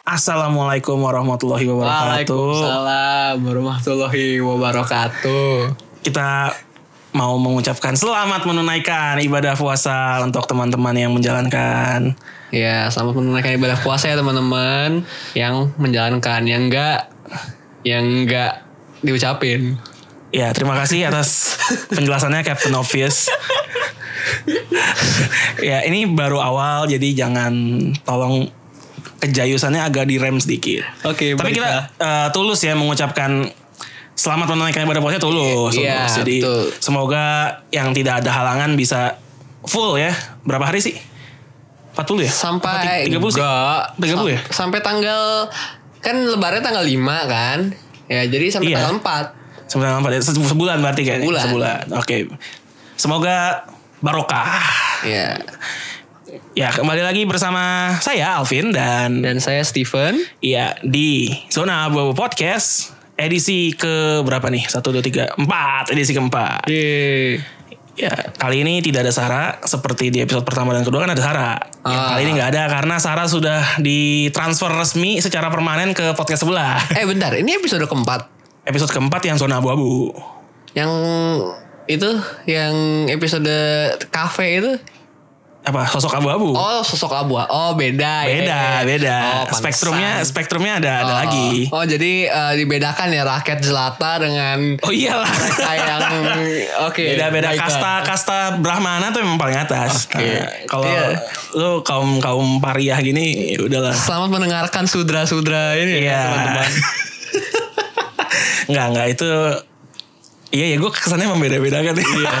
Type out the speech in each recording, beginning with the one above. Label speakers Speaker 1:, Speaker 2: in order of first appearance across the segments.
Speaker 1: Assalamualaikum warahmatullahi wabarakatuh.
Speaker 2: Waalaikumsalam warahmatullahi wabarakatuh.
Speaker 1: Kita mau mengucapkan selamat menunaikan ibadah puasa untuk teman-teman yang menjalankan.
Speaker 2: Ya, selamat menunaikan ibadah puasa ya teman-teman yang menjalankan yang enggak yang enggak diucapin.
Speaker 1: Ya, terima kasih atas penjelasannya Captain Obvious. ya, ini baru awal jadi jangan tolong kejayusannya agak direm sedikit.
Speaker 2: Oke,
Speaker 1: Tapi kita
Speaker 2: baiklah.
Speaker 1: eh, tulus ya mengucapkan selamat menunaikan ibadah puasa ya tulus.
Speaker 2: Iya,
Speaker 1: tulus. Jadi
Speaker 2: betul.
Speaker 1: semoga yang tidak ada halangan bisa full ya. Berapa hari sih? 40 ya?
Speaker 2: sampai
Speaker 1: Apa ti- 30 sih?
Speaker 2: enggak
Speaker 1: 30 ya?
Speaker 2: Sam- sampai tanggal kan lebarannya tanggal 5 kan? Ya, jadi sampai
Speaker 1: Iya.
Speaker 2: tanggal 4.
Speaker 1: Sampai tanggal 40 ya? Se- sebulan berarti kayaknya.
Speaker 2: Sebulan.
Speaker 1: Oke. Semoga barokah.
Speaker 2: Ya.
Speaker 1: Ya, kembali lagi bersama saya Alvin dan
Speaker 2: Dan saya Steven.
Speaker 1: ya di Zona Abu-Abu Podcast edisi ke berapa nih? 1 2 3 4, edisi keempat.
Speaker 2: Yeay.
Speaker 1: Ya, kali ini tidak ada Sarah seperti di episode pertama dan kedua kan ada Sarah. Ya,
Speaker 2: Ah.
Speaker 1: kali ini nggak ada karena Sarah sudah ditransfer resmi secara permanen ke podcast sebelah.
Speaker 2: Eh bentar, ini episode keempat.
Speaker 1: Episode keempat yang Zona Abu-Abu.
Speaker 2: Yang itu yang episode kafe itu
Speaker 1: Apa? Sosok abu-abu.
Speaker 2: oh sosok abu oh beda ya.
Speaker 1: beda, beda.
Speaker 2: oh, pantesan.
Speaker 1: spektrumnya spektrumnya ada ada
Speaker 2: Oh.
Speaker 1: lagi.
Speaker 2: oh jadi eh, dibedakan ya rakyat jelata dengan
Speaker 1: Oh iyalah.
Speaker 2: mereka yang oke
Speaker 1: beda-beda
Speaker 2: baiklah.
Speaker 1: kasta kasta Brahmana tuh memang paling atas.
Speaker 2: Oke.
Speaker 1: Nah, kalau
Speaker 2: Iya.
Speaker 1: lu kaum kaum pariah gini ya udahlah.
Speaker 2: selamat mendengarkan sudra-sudra ini ya,
Speaker 1: Iya.
Speaker 2: teman-teman
Speaker 1: Enggak enggak itu Iya ya gue kesannya membeda-bedakan Iya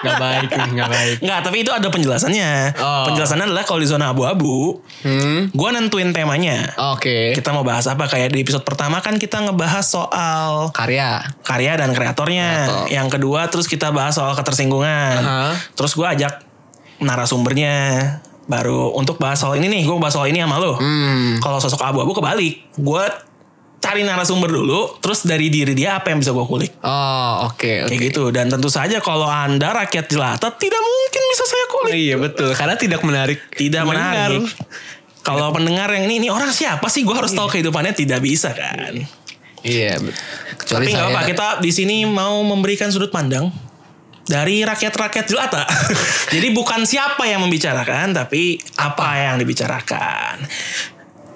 Speaker 2: nggak baik nih, nggak baik
Speaker 1: Enggak tapi itu ada penjelasannya
Speaker 2: Oh.
Speaker 1: Penjelasannya adalah kalau di zona abu-abu
Speaker 2: hmm
Speaker 1: Gue nentuin temanya
Speaker 2: oke
Speaker 1: Kita mau bahas apa Kayak di episode pertama kan kita ngebahas soal
Speaker 2: karya
Speaker 1: karya dan kreatornya.
Speaker 2: Kreator.
Speaker 1: Yang kedua terus kita bahas soal ketersinggungan.
Speaker 2: Aha.
Speaker 1: Terus gue ajak narasumbernya baru untuk bahas soal ini nih. Gue bahas soal ini sama lo.
Speaker 2: hmm
Speaker 1: Kalau sosok abu-abu kebalik, gue cari narasumber dulu. Terus dari diri dia apa yang bisa gue kulik.
Speaker 2: oh oke oke.
Speaker 1: Kayak gitu. Dan tentu saja kalau anda rakyat jelata tidak mungkin bisa saya kulik.
Speaker 2: iya betul karena tidak menarik
Speaker 1: Tidak
Speaker 2: Mendengar.
Speaker 1: menarik.
Speaker 2: Iya.
Speaker 1: Kalau pendengar yang ini, ini orang siapa sih? Gue harus tahu kehidupannya tidak bisa kan.
Speaker 2: iya betul. kecuali
Speaker 1: Tapi nggak
Speaker 2: saya
Speaker 1: apa, kita di sini mau memberikan sudut pandang dari rakyat-rakyat jelata. Jadi bukan siapa yang membicarakan, tapi apa yang dibicarakan.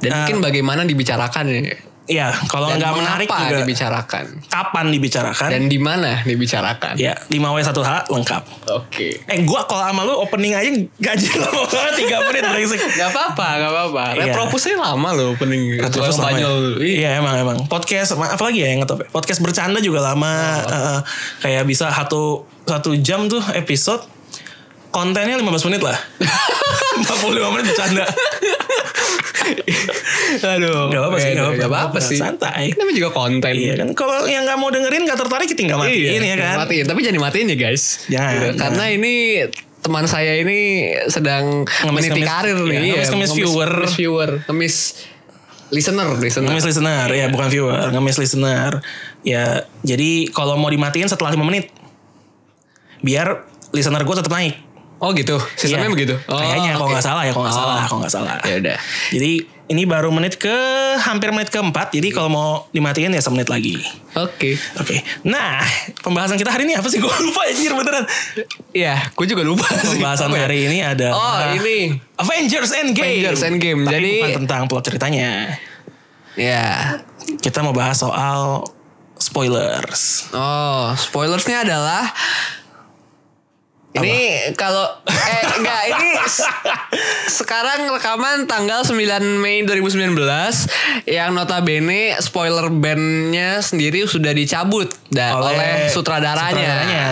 Speaker 2: dan mungkin bagaimana dibicarakan ya
Speaker 1: Ya, kalau
Speaker 2: Dan
Speaker 1: eh, nggak menarik
Speaker 2: mengapa
Speaker 1: juga
Speaker 2: dibicarakan
Speaker 1: kapan dibicarakan?
Speaker 2: dan di mana dibicarakan
Speaker 1: ya, 5W1H lengkap.
Speaker 2: Oke.
Speaker 1: Eh, gua kalau sama lu opening aja gaji lama banget 3 menit brengsek.
Speaker 2: Gak apa-apa, gak apa-apa.
Speaker 1: Iya.
Speaker 2: Retropusnya lama loh opening. Retro
Speaker 1: Terus lama ya.
Speaker 2: Spanyol. Iya.
Speaker 1: Iya emang emang. Podcast apa lagi ya yang ngetop? ya? Podcast bercanda juga lama. Eh, kayak bisa satu satu jam tuh episode kontennya 15 menit lah. 45 menit bercanda.
Speaker 2: Aduh.
Speaker 1: Gak Iya. apa-apa sih,
Speaker 2: beda.
Speaker 1: gak apa-apa.
Speaker 2: Gak apa-apa sih.
Speaker 1: Santai.
Speaker 2: Namanya juga konten.
Speaker 1: Iya kan kalau yang nggak mau dengerin nggak tertarik kita tinggal matiin ya kan.
Speaker 2: Iya, Matiin. Tapi jangan dimatiin ya guys.
Speaker 1: Jangan,
Speaker 2: Gitu.
Speaker 1: jangan.
Speaker 2: Karena ini teman saya ini sedang
Speaker 1: Ngemis-ngemis-
Speaker 2: meniti karir
Speaker 1: iya,
Speaker 2: nih.
Speaker 1: ngemis-ngemis viewer.
Speaker 2: Ngemis viewer. Ngemis listener. listener.
Speaker 1: Ngemis listener,
Speaker 2: Iya.
Speaker 1: ya bukan viewer, ngemis listener. Ya, jadi kalau mau dimatiin setelah 5 menit. Biar listener gue tetap naik.
Speaker 2: Oh gitu. Sistemnya
Speaker 1: Iya.
Speaker 2: begitu. Oh,
Speaker 1: Kayaknya kalau
Speaker 2: oke.
Speaker 1: nggak salah ya, kalau nggak
Speaker 2: Oh.
Speaker 1: salah, kalau nggak salah.
Speaker 2: Ya udah.
Speaker 1: Jadi ini baru menit ke hampir menit keempat. Jadi kalau mau dimatiin ya semenit lagi.
Speaker 2: Oke.
Speaker 1: Oke. Nah, pembahasan kita hari ini apa sih? Gue lupa anjir beneran.
Speaker 2: Iya, gue juga lupa sih.
Speaker 1: Pembahasan Ah.
Speaker 2: Apa ya?
Speaker 1: hari ini ada
Speaker 2: Oh, ini.
Speaker 1: Avengers Endgame.
Speaker 2: Avengers Endgame.
Speaker 1: Tapi
Speaker 2: Jadi-
Speaker 1: bukan tentang plot ceritanya.
Speaker 2: Ya.
Speaker 1: Kita mau bahas soal spoilers.
Speaker 2: Oh, spoilersnya adalah ini kalau eh enggak ini s- sekarang rekaman tanggal 9 Mei 2019 yang notabene spoiler bandnya sendiri sudah dicabut dan
Speaker 1: Oleh
Speaker 2: oleh, sutradaranya.
Speaker 1: sutradaranya.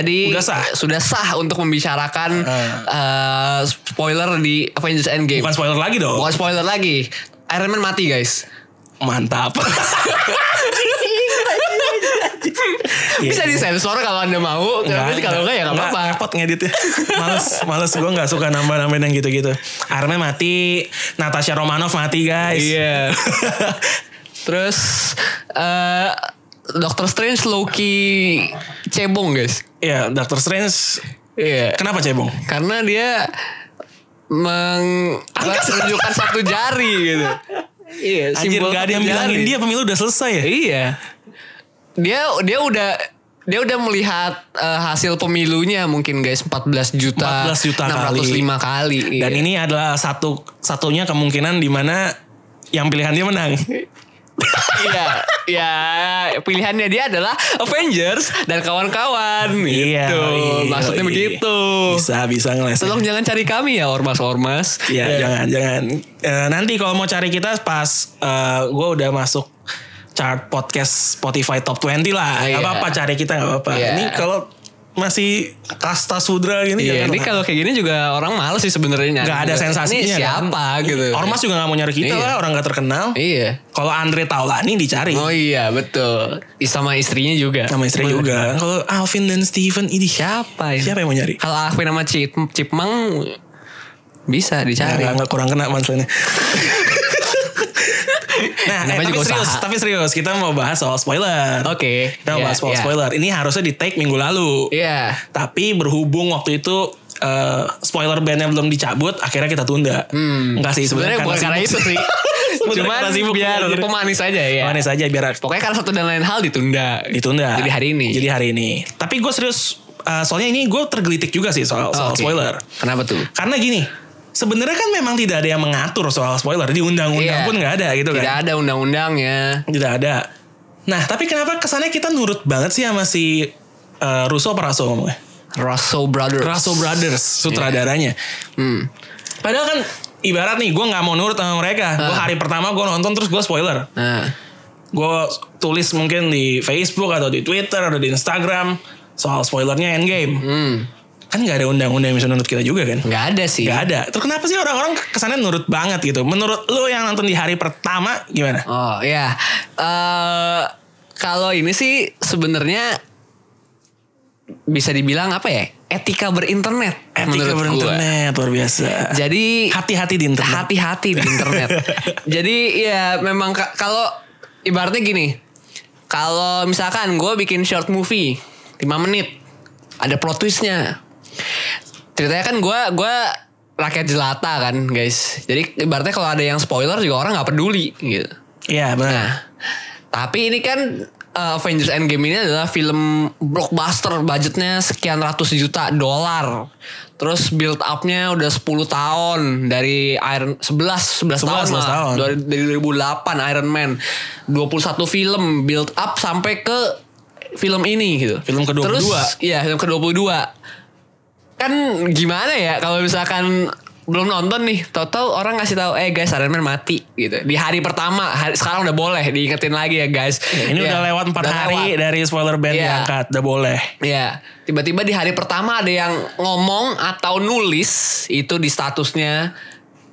Speaker 1: Jadi, udah sah. Ah.
Speaker 2: sudah sah untuk membicarakan eh, spoiler di Avengers Endgame.
Speaker 1: Bukan spoiler lagi dong.
Speaker 2: Bukan spoiler lagi. Iron Man mati, guys.
Speaker 1: Mantap. Iya, Iya,
Speaker 2: Bisa disensor kalau Anda mau. Tapi kalau enggak ya enggak apa-apa.
Speaker 1: Repot ngeditnya. Males, males gue nggak suka nambah-nambahin yang gitu-gitu. Arme mati, Natasha Romanoff mati guys.
Speaker 2: Iya. Terus eh Doctor Strange Loki cebong guys.
Speaker 1: Iya, Doctor Strange.
Speaker 2: Iya.
Speaker 1: Kenapa cebong?
Speaker 2: Karena dia meng menunjukkan satu jari gitu. Iya,
Speaker 1: Anjir
Speaker 2: simbol gitu.
Speaker 1: gak ada yang bilangin
Speaker 2: kekejaran.
Speaker 1: dia pemilu udah selesai ya.
Speaker 2: Iya. Dia dia udah dia udah melihat eh, hasil pemilunya mungkin guys 14 juta
Speaker 1: 14 juta
Speaker 2: 605 kali.
Speaker 1: Dan ini adalah satu satunya kemungkinan di mana yang pilihan dia menang.
Speaker 2: Gitu. iya, ya pilihannya dia adalah Avengers dan kawan-kawan gitu.
Speaker 1: iya,
Speaker 2: Maksudnya
Speaker 1: iya.
Speaker 2: begitu.
Speaker 1: Bisa bisa ngeles.
Speaker 2: Tolong jangan cari kami ya ormas-ormas.
Speaker 1: Ya,
Speaker 2: Eh,
Speaker 1: jangan jangan. Eh, nanti kalau mau cari kita pas gue udah masuk chart podcast Spotify top 20 lah. Gak
Speaker 2: Iya.
Speaker 1: apa-apa cari kita gak apa-apa.
Speaker 2: Iya.
Speaker 1: Ini kalau masih kasta sudra gini
Speaker 2: Iya,
Speaker 1: jangan
Speaker 2: ini
Speaker 1: lah.
Speaker 2: kalau kayak gini juga orang males sih sebenarnya.
Speaker 1: Gak ada
Speaker 2: Ini
Speaker 1: sensasinya kan.
Speaker 2: siapa gitu.
Speaker 1: Ormas juga gak mau nyari kita
Speaker 2: Iya.
Speaker 1: lah orang gak terkenal.
Speaker 2: Iya.
Speaker 1: Kalau Andre Taulani dicari.
Speaker 2: Oh iya, betul. Sama istrinya juga.
Speaker 1: Sama istri
Speaker 2: Bener.
Speaker 1: juga. Kalau Alvin dan Steven ini
Speaker 2: Siapa ya?
Speaker 1: Siapa yang mau nyari?
Speaker 2: Kalau aku nama Cip, Cipmang bisa dicari.
Speaker 1: Nggak, nggak kurang kena panselnya. nah, eh,
Speaker 2: Namanya
Speaker 1: tapi
Speaker 2: juga
Speaker 1: serius,
Speaker 2: usaha.
Speaker 1: tapi serius kita mau bahas soal spoiler.
Speaker 2: Oke.
Speaker 1: Kita mau
Speaker 2: Iya,
Speaker 1: bahas soal
Speaker 2: iya.
Speaker 1: spoiler. Ini harusnya di take minggu lalu.
Speaker 2: Iya.
Speaker 1: Tapi berhubung waktu itu eh, spoiler bandnya belum dicabut, akhirnya kita tunda. Enggak sih
Speaker 2: Hmm. Sebenarnya
Speaker 1: sebenarnya
Speaker 2: bukan karena itu
Speaker 1: sibuk.
Speaker 2: sih.
Speaker 1: Sebenarnya
Speaker 2: Cuman
Speaker 1: karena sibuk,
Speaker 2: biar
Speaker 1: anjir.
Speaker 2: pemanis aja ya.
Speaker 1: Manis aja biar
Speaker 2: Pokoknya karena satu dan lain hal ditunda.
Speaker 1: ditunda.
Speaker 2: Jadi hari ini.
Speaker 1: Jadi hari ini. Tapi gue serius, eh, soalnya ini gue tergelitik juga sih soal, soal
Speaker 2: Oh, oke.
Speaker 1: spoiler.
Speaker 2: Kenapa tuh?
Speaker 1: Karena gini, sebenarnya kan memang tidak ada yang mengatur soal spoiler di undang-undang
Speaker 2: Iya.
Speaker 1: pun nggak ada gitu
Speaker 2: Tidak
Speaker 1: kan?
Speaker 2: ada undang-undangnya.
Speaker 1: Tidak ada. Nah, tapi kenapa kesannya kita nurut banget sih sama si eh, Russo Praso ngomongnya?
Speaker 2: Russo Brothers.
Speaker 1: Russo Brothers sutradaranya.
Speaker 2: Hmm.
Speaker 1: Padahal kan ibarat nih gue nggak mau nurut sama mereka. Gue
Speaker 2: Ah.
Speaker 1: hari pertama gue nonton terus gue spoiler.
Speaker 2: Nah,
Speaker 1: Gue tulis mungkin di Facebook atau di Twitter atau di Instagram soal spoilernya Endgame.
Speaker 2: hmm.
Speaker 1: Kan nggak ada undang-undang yang bisa nurut kita juga kan?
Speaker 2: Nggak ada sih.
Speaker 1: Gak ada. Terus kenapa sih orang-orang kesannya nurut banget gitu? Menurut lu yang nonton di hari pertama gimana?
Speaker 2: Oh ya, Eh, kalau ini sih sebenarnya bisa dibilang apa ya? Etika berinternet.
Speaker 1: Etika
Speaker 2: menurut gua.
Speaker 1: berinternet luar biasa.
Speaker 2: Jadi
Speaker 1: Hati-hati di internet.
Speaker 2: hati-hati di internet. Jadi ya memang ka- kalau ibaratnya gini, kalau misalkan gue bikin short movie 5 menit, ada plot twistnya. Ceritanya kan gue gua rakyat jelata kan guys. Jadi ibaratnya kalau ada yang spoiler juga orang nggak peduli gitu.
Speaker 1: Iya benar.
Speaker 2: Nah, tapi ini kan uh, Avengers Endgame ini adalah film blockbuster budgetnya sekian ratus juta dolar. Terus build upnya udah 10 tahun dari Iron
Speaker 1: 11
Speaker 2: 11 11, tahun, lah.
Speaker 1: tahun.
Speaker 2: Dari, dari 2008 Iron Man 21 film build up sampai ke film ini gitu.
Speaker 1: Film ke-22.
Speaker 2: Terus iya film ke-22. Kan gimana ya kalau misalkan belum nonton nih, total orang ngasih tahu eh guys Iron Man mati gitu. Di hari pertama, hari- sekarang udah boleh diingetin lagi ya guys.
Speaker 1: Iya, Ini
Speaker 2: Ya,
Speaker 1: udah lewat 4
Speaker 2: udah
Speaker 1: hari
Speaker 2: lewat.
Speaker 1: dari spoiler band
Speaker 2: Iya.
Speaker 1: diangkat, udah boleh.
Speaker 2: Ya, tiba-tiba di hari pertama ada yang ngomong atau nulis itu di statusnya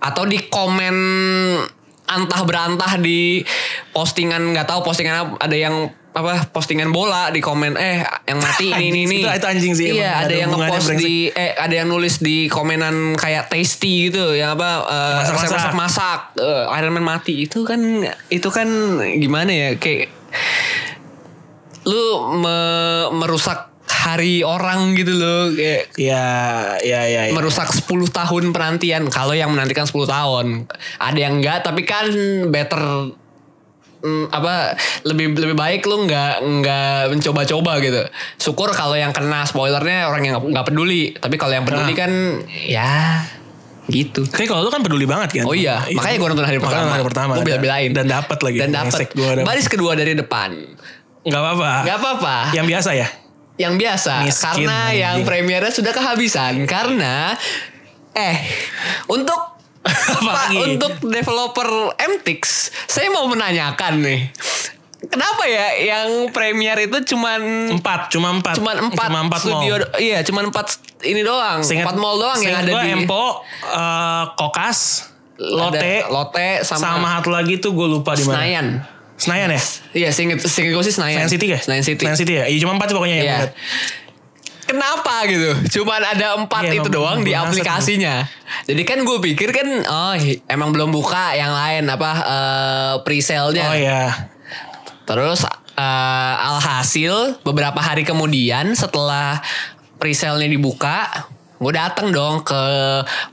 Speaker 2: atau di komen antah berantah di postingan nggak tahu postingan apa- ada yang apa postingan bola di komen eh yang mati ini ini ini
Speaker 1: Itu- itu anjing sih, emang.
Speaker 2: iya
Speaker 1: Ada
Speaker 2: ada, yang
Speaker 1: hubungannya,
Speaker 2: ngepost
Speaker 1: brengsek.
Speaker 2: di eh ada yang nulis di komenan kayak tasty gitu yang apa eh,
Speaker 1: Masak-masak.
Speaker 2: resep-resep masak eh, Iron Man mati itu kan itu kan gimana ya kayak lu me- merusak hari orang gitu loh kayak
Speaker 1: Iya, iya, iya. iya.
Speaker 2: merusak 10 tahun penantian kalau yang menantikan 10 tahun ada yang enggak tapi kan better mm, apa lebih lebih baik lu nggak nggak mencoba-coba gitu syukur kalau yang kena spoilernya orang yang nggak- nggak peduli tapi kalau yang peduli
Speaker 1: Nah.
Speaker 2: kan ya gitu
Speaker 1: Tapi kalau lu kan peduli banget kan?
Speaker 2: Oh iya,
Speaker 1: Itu.
Speaker 2: makanya gue nonton hari
Speaker 1: Makanya
Speaker 2: pertama.
Speaker 1: Hari pertama. kan.
Speaker 2: Gue bela-belain.
Speaker 1: Dan dapat lagi.
Speaker 2: Dan
Speaker 1: Ngesek
Speaker 2: dapat.
Speaker 1: Gua dapet.
Speaker 2: Baris kedua dari depan.
Speaker 1: Gak apa-apa.
Speaker 2: Gak apa-apa.
Speaker 1: Yang biasa ya?
Speaker 2: Yang biasa.
Speaker 1: Miskin,
Speaker 2: karena
Speaker 1: anjing.
Speaker 2: yang premiernya sudah kehabisan. Karena eh untuk Pak,
Speaker 1: lagi?
Speaker 2: untuk developer MTX, saya mau menanyakan nih. Kenapa ya yang premier itu cuman
Speaker 1: Empat, cuma empat.
Speaker 2: cuman empat,
Speaker 1: Cuma empat
Speaker 2: studio
Speaker 1: mall.
Speaker 2: do- iya cuman empat ini doang
Speaker 1: Seingat-
Speaker 2: empat mall doang yang
Speaker 1: seingat
Speaker 2: ada
Speaker 1: gua
Speaker 2: di
Speaker 1: Empo, eh, Kokas, Lotte,
Speaker 2: ada Lotte sama,
Speaker 1: sama, satu lagi tuh gue lupa di mana.
Speaker 2: Senayan
Speaker 1: Senayan ya?
Speaker 2: Iya, seinget, seinget gue sih Senayan.
Speaker 1: Senayan City ya?
Speaker 2: Senayan City.
Speaker 1: Senayan City ya? Iya cuma empat pokoknya yang
Speaker 2: Iya.
Speaker 1: empat.
Speaker 2: Kenapa gitu? Cuman ada empat
Speaker 1: Iya, emang
Speaker 2: itu doang
Speaker 1: belum
Speaker 2: di
Speaker 1: berasa
Speaker 2: aplikasinya. Jadi kan gue pikir kan, oh hi- emang belum buka yang lain apa eh, pre-sale-nya.
Speaker 1: Oh iya.
Speaker 2: Terus eh, alhasil beberapa hari kemudian setelah pre-sale-nya dibuka, Gue dateng dong ke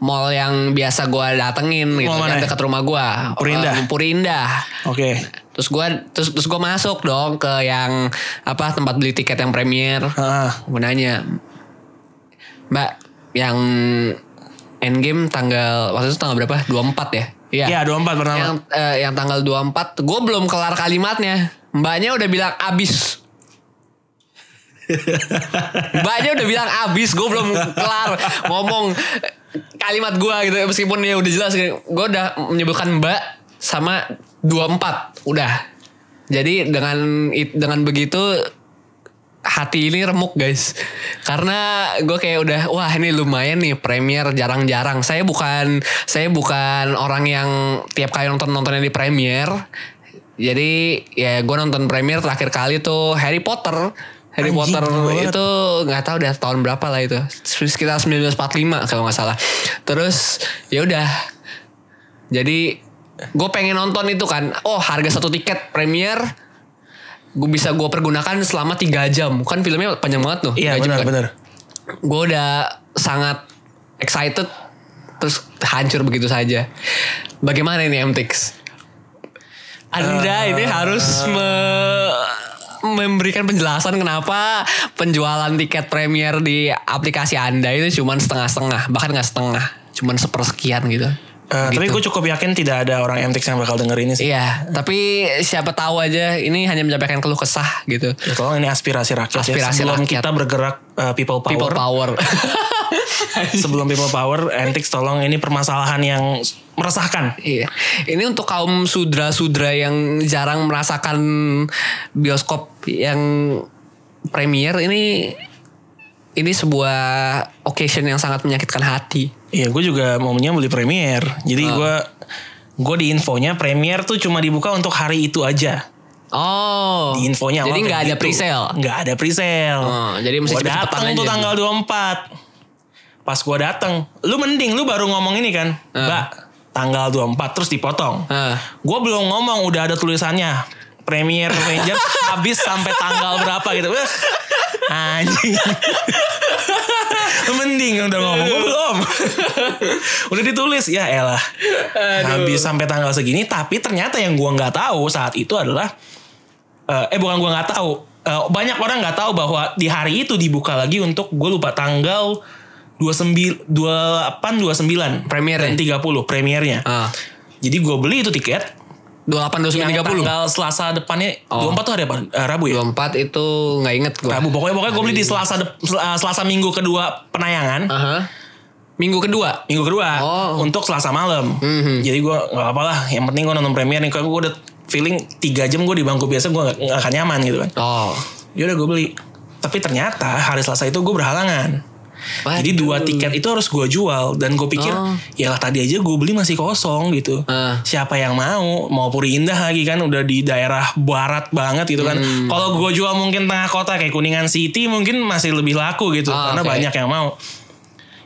Speaker 2: mall yang biasa gue datengin gitu.
Speaker 1: Mall mana
Speaker 2: Yang
Speaker 1: ya?
Speaker 2: dekat rumah gue.
Speaker 1: Purindah.
Speaker 2: Eh, Purindah.
Speaker 1: Oke.
Speaker 2: Terus gue terus, terus gue masuk dong ke yang apa tempat beli tiket yang premier.
Speaker 1: Heeh.
Speaker 2: Gue nanya, Mbak, yang Endgame tanggal waktu itu tanggal berapa? 24 ya? Iya.
Speaker 1: Iya, 24 pertama.
Speaker 2: Yang eh, yang tanggal 24 gue belum kelar kalimatnya. Mbaknya udah bilang abis. Mbaknya udah bilang abis, gue belum kelar ngomong kalimat gue gitu meskipun dia udah jelas gue udah menyebutkan mbak sama 24 udah. Jadi dengan it- dengan begitu hati ini remuk guys karena gue kayak udah wah ini lumayan nih premier jarang-jarang saya bukan saya bukan orang yang tiap kali nonton nontonnya di premier jadi ya gue nonton premier terakhir kali tuh Harry Potter Harry
Speaker 1: Anjing,
Speaker 2: Potter
Speaker 1: lama banget.
Speaker 2: itu nggak tahu udah tahun berapa lah itu sekitar 1945 kalau nggak salah terus ya udah jadi gue pengen nonton itu kan oh harga satu tiket premier gue bisa gue pergunakan selama 3 jam kan filmnya panjang banget tuh
Speaker 1: Iya, benar, benar.
Speaker 2: gue udah sangat excited terus hancur begitu saja bagaimana ini MTX anda
Speaker 1: Eh.
Speaker 2: ini harus me- memberikan penjelasan kenapa penjualan tiket premier di aplikasi anda itu cuman setengah-setengah bahkan nggak setengah cuman sepersekian gitu
Speaker 1: Eh, Tapi gue cukup yakin tidak ada orang MTX yang bakal denger ini sih.
Speaker 2: Iya, tapi siapa tahu aja ini hanya menyampaikan keluh kesah gitu.
Speaker 1: Ya, Tolong ini aspirasi rakyat ya.
Speaker 2: Aspirasi
Speaker 1: Sebelum
Speaker 2: rakyat.
Speaker 1: kita bergerak eh, people power.
Speaker 2: People power.
Speaker 1: sebelum people power, MTX tolong ini permasalahan yang meresahkan.
Speaker 2: Iya. Ini untuk kaum sudra-sudra yang jarang merasakan bioskop yang premier ini ini sebuah occasion yang sangat menyakitkan hati.
Speaker 1: Iya, gue juga maunya beli premier. Jadi
Speaker 2: Ah.
Speaker 1: gue gue di infonya premier tuh cuma dibuka untuk hari itu aja.
Speaker 2: Oh.
Speaker 1: Di infonya
Speaker 2: Jadi
Speaker 1: awal
Speaker 2: nggak
Speaker 1: kayak
Speaker 2: ada
Speaker 1: gitu.
Speaker 2: pre-sale.
Speaker 1: Nggak ada pre-sale.
Speaker 2: Oh, jadi mesti
Speaker 1: Gua
Speaker 2: cepet-cepetan
Speaker 1: dateng tuh
Speaker 2: aja. gitu.
Speaker 1: tanggal 24. Pas gue dateng, lu mending lu baru ngomong ini kan, Mbak, tanggal 24 terus dipotong.
Speaker 2: Ah.
Speaker 1: Gue belum ngomong udah ada tulisannya Premier Rangers habis sampai tanggal berapa gitu. Wah, Anjing. Lu mending udah ngomong gue belum. udah ditulis ya elah. Habis sampai tanggal segini tapi ternyata yang gua nggak tahu saat itu adalah eh, eh bukan gua nggak tahu. Eh, banyak orang nggak tahu bahwa di hari itu dibuka lagi untuk gue lupa tanggal 29 28 29
Speaker 2: Premier
Speaker 1: dan 30 premiernya.
Speaker 2: Ah.
Speaker 1: Jadi gue beli itu tiket
Speaker 2: 28
Speaker 1: yang
Speaker 2: 29 30.
Speaker 1: tanggal Selasa depannya 24 tuh hari apa? Eh, Rabu ya?
Speaker 2: 24 itu nggak inget gua.
Speaker 1: Rabu. Pokoknya pokoknya gue beli di Selasa dep- Sel- eh, Selasa minggu kedua penayangan.
Speaker 2: Aha. Minggu kedua.
Speaker 1: Minggu kedua
Speaker 2: Oh.
Speaker 1: untuk Selasa malam. Jadi gue nggak apa lah. Yang penting gue nonton premier nih. Karena gue udah feeling 3 jam gue di bangku biasa gue gak, akan nyaman gitu kan.
Speaker 2: Oh.
Speaker 1: Yaudah gue beli. Tapi ternyata hari Selasa itu gue berhalangan.
Speaker 2: Waduh.
Speaker 1: Jadi dua tiket itu harus gue jual dan gue pikir
Speaker 2: Oh.
Speaker 1: ya tadi aja gue beli masih kosong gitu.
Speaker 2: Ah.
Speaker 1: Siapa yang mau? Mau Puri Indah lagi kan udah di daerah barat banget gitu kan.
Speaker 2: Hmm.
Speaker 1: Kalau gue jual mungkin tengah kota kayak Kuningan City mungkin masih lebih laku gitu
Speaker 2: Ah,
Speaker 1: karena
Speaker 2: oke.
Speaker 1: banyak yang mau.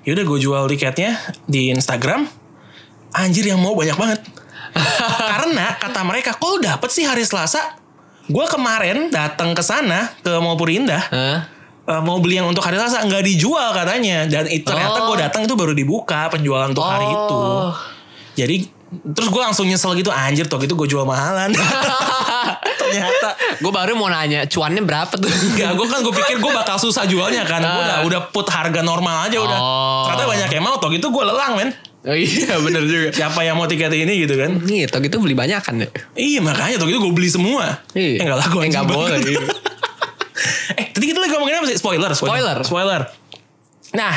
Speaker 1: Yaudah gue jual tiketnya di Instagram. Anjir yang mau banyak banget. Karena kata mereka kok lu dapet sih hari Selasa. Gue kemarin datang ke sana ke Mall Puri Indah.
Speaker 2: Hah?
Speaker 1: Eh, mau beli yang untuk hari Selasa nggak dijual katanya dan itu ternyata
Speaker 2: Oh.
Speaker 1: gue datang itu baru dibuka penjualan untuk hari itu
Speaker 2: Oh.
Speaker 1: jadi terus gue langsung nyesel gitu anjir toh itu gue jual mahalan ternyata
Speaker 2: Gue baru mau nanya cuannya berapa tuh?
Speaker 1: Enggak, gue kan gue pikir gue bakal susah jualnya kan gue udah udah put harga normal aja udah
Speaker 2: Ah. Oh.
Speaker 1: ternyata banyak yang mau toh gitu gue lelang men
Speaker 2: Oh iya bener juga.
Speaker 1: siapa yang mau tiket ini gitu kan
Speaker 2: Nih, tau gitu beli banyak kan ya?
Speaker 1: iya makanya toh gitu gue beli semua
Speaker 2: Iya.
Speaker 1: Eh, nggak laku
Speaker 2: Eh,
Speaker 1: anjing
Speaker 2: nggak
Speaker 1: banget.
Speaker 2: boleh. iya.
Speaker 1: eh tadi kita lagi ngomongin apa sih spoiler
Speaker 2: Spoiler.
Speaker 1: spoiler nah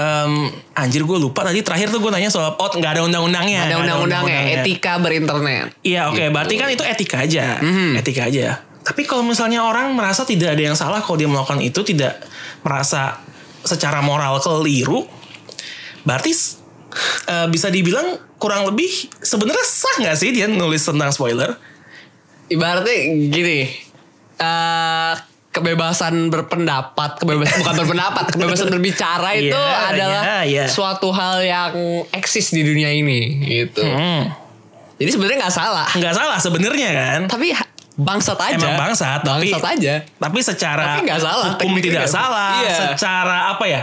Speaker 1: em, anjir gue lupa tadi terakhir tuh gue nanya soal oh nggak ada undang-undangnya
Speaker 2: Ada
Speaker 1: Nggak
Speaker 2: undang-undangnya Gitu.
Speaker 1: undang-undangnya.
Speaker 2: etika berinternet.
Speaker 1: iya oke berarti kan itu etika aja
Speaker 2: Mhm.
Speaker 1: etika aja tapi kalau misalnya orang merasa tidak ada yang salah kalau dia melakukan itu tidak merasa secara moral keliru berarti s- eh, bisa dibilang kurang lebih sebenarnya sah nggak sih dia nulis tentang spoiler
Speaker 2: Ibaratnya gini. eh kebebasan berpendapat, kebebasan bukan berpendapat, kebebasan berbicara itu
Speaker 1: Iya,
Speaker 2: adalah
Speaker 1: iya, iya.
Speaker 2: suatu hal yang eksis di dunia ini gitu.
Speaker 1: hmm.
Speaker 2: Jadi sebenarnya nggak salah,
Speaker 1: nggak salah sebenarnya kan
Speaker 2: tapi ha- bangsat aja.
Speaker 1: Emang bangsat, tapi-
Speaker 2: bangsat aja.
Speaker 1: Tapi secara
Speaker 2: Tapi nggak salah,
Speaker 1: hukum
Speaker 2: tekniknya
Speaker 1: tidak
Speaker 2: nggak-
Speaker 1: salah.
Speaker 2: Iya.
Speaker 1: Secara apa ya?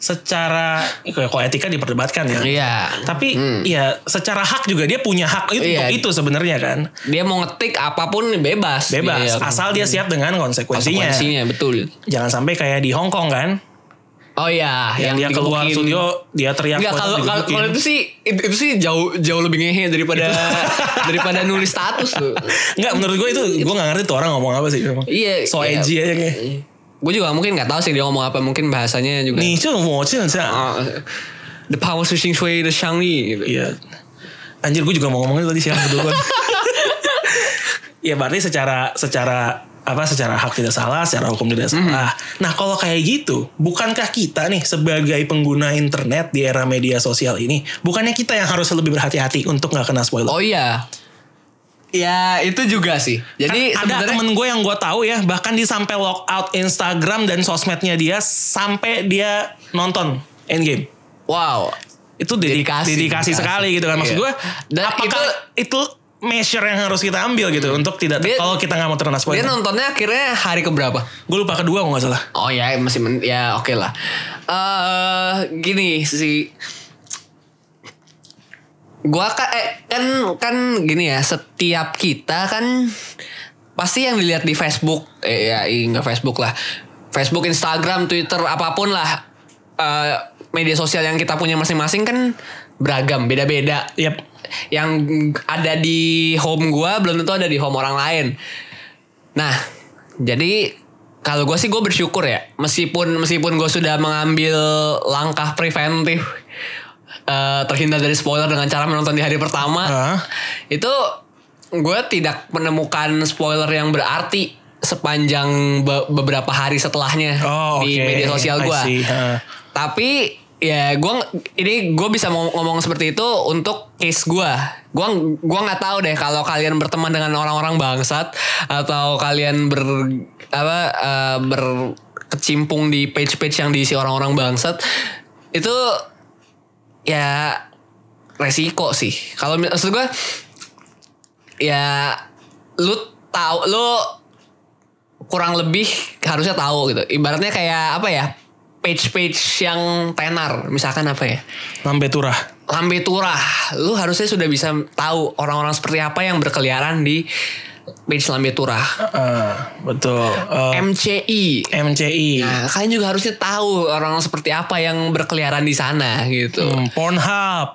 Speaker 1: secara kalau etika diperdebatkan ya.
Speaker 2: Iya.
Speaker 1: Tapi ya secara hak juga dia punya hak itu
Speaker 2: Iya.
Speaker 1: itu sebenarnya kan.
Speaker 2: Dia mau ngetik apapun bebas.
Speaker 1: Bebas
Speaker 2: Iya,
Speaker 1: asal dia siap dengan konsekuensinya.
Speaker 2: konsekuensinya betul.
Speaker 1: Jangan sampai kayak di Hong Kong kan.
Speaker 2: Oh iya,
Speaker 1: Yang, dia keluar
Speaker 2: digebukin.
Speaker 1: studio dia teriak
Speaker 2: Enggak
Speaker 1: foto
Speaker 2: kalau kalau
Speaker 1: digebukin.
Speaker 2: kalau itu sih itu, itu sih jauh jauh lebih ngehe daripada daripada nulis status tuh.
Speaker 1: Enggak menurut gue itu gue gak ngerti tuh orang ngomong apa sih emang.
Speaker 2: Iya,
Speaker 1: So
Speaker 2: iya.
Speaker 1: edgy aja kayak.
Speaker 2: Gue juga mungkin nggak tahu sih dia ngomong apa, mungkin bahasanya juga.
Speaker 1: Nih cuy mau cuy
Speaker 2: Oh, the power switching sway the Shangri gitu.
Speaker 1: Iya. Anjir gue juga mau ngomongin tadi siapa berdua. ya berarti secara secara apa secara hak tidak salah, secara hukum
Speaker 2: Mhm.
Speaker 1: tidak salah. Nah, kalau kayak gitu, bukankah kita nih sebagai pengguna internet di era media sosial ini, bukannya kita yang harus lebih berhati-hati untuk nggak kena spoiler?
Speaker 2: Oh iya. Ya itu juga sih. Jadi
Speaker 1: Kan ada
Speaker 2: sebenarnya
Speaker 1: temen gue yang gue tahu ya, bahkan dia sampai lockout Instagram dan sosmednya dia sampai dia nonton Endgame.
Speaker 2: wow.
Speaker 1: itu dedi-
Speaker 2: Dedikasi.
Speaker 1: dedikasi,
Speaker 2: Dedikasi.
Speaker 1: sekali gitu kan maksud
Speaker 2: Iya.
Speaker 1: gue
Speaker 2: Dan
Speaker 1: apakah itu, measure yang harus kita ambil gitu untuk tidak
Speaker 2: Dia-
Speaker 1: kalau kita nggak mau terkena
Speaker 2: Dia
Speaker 1: spoiler
Speaker 2: nontonnya akhirnya hari keberapa?
Speaker 1: gue lupa kedua kalau nggak salah
Speaker 2: Oh ya masih men- ya oke lah. Eh gini sih. Gua kan eh, kan kan gini ya, setiap kita kan pasti yang dilihat di Facebook eh ya ih, nggak Facebook lah. Facebook, Instagram, Twitter apapun lah eh, media sosial yang kita punya masing-masing kan beragam, beda-beda
Speaker 1: Yap.
Speaker 2: yang ada di home gua belum tentu ada di home orang lain. Nah, jadi kalau gue sih gue bersyukur ya, meskipun meskipun gue sudah mengambil langkah preventif eh, terhindar dari spoiler dengan cara menonton di hari pertama,
Speaker 1: Hah?
Speaker 2: itu gue tidak menemukan spoiler yang berarti sepanjang be- beberapa hari setelahnya
Speaker 1: Oh, oke.
Speaker 2: di media sosial
Speaker 1: I
Speaker 2: gue.
Speaker 1: see. Ha.
Speaker 2: Tapi ya gue ini gue bisa mau ngomong seperti itu untuk case gue. Gue gua nggak tahu deh kalau kalian berteman dengan orang-orang bangsat atau kalian ber apa eh, berkecimpung di page-page yang diisi orang-orang bangsat itu ya resiko sih. Kalau mi- maksud gue ya lu tahu lu kurang lebih harusnya tahu gitu. Ibaratnya kayak apa ya? Page-page yang tenar, misalkan apa ya?
Speaker 1: lambe turah
Speaker 2: Lambe Turah. Lu harusnya sudah bisa tahu orang-orang seperti apa yang berkeliaran di page Lambe Turah.
Speaker 1: Eh, betul Eh,
Speaker 2: MCI.
Speaker 1: MCI
Speaker 2: Nah, kalian juga harusnya tahu orang seperti apa yang berkeliaran di sana gitu.
Speaker 1: Hmm, Pornhub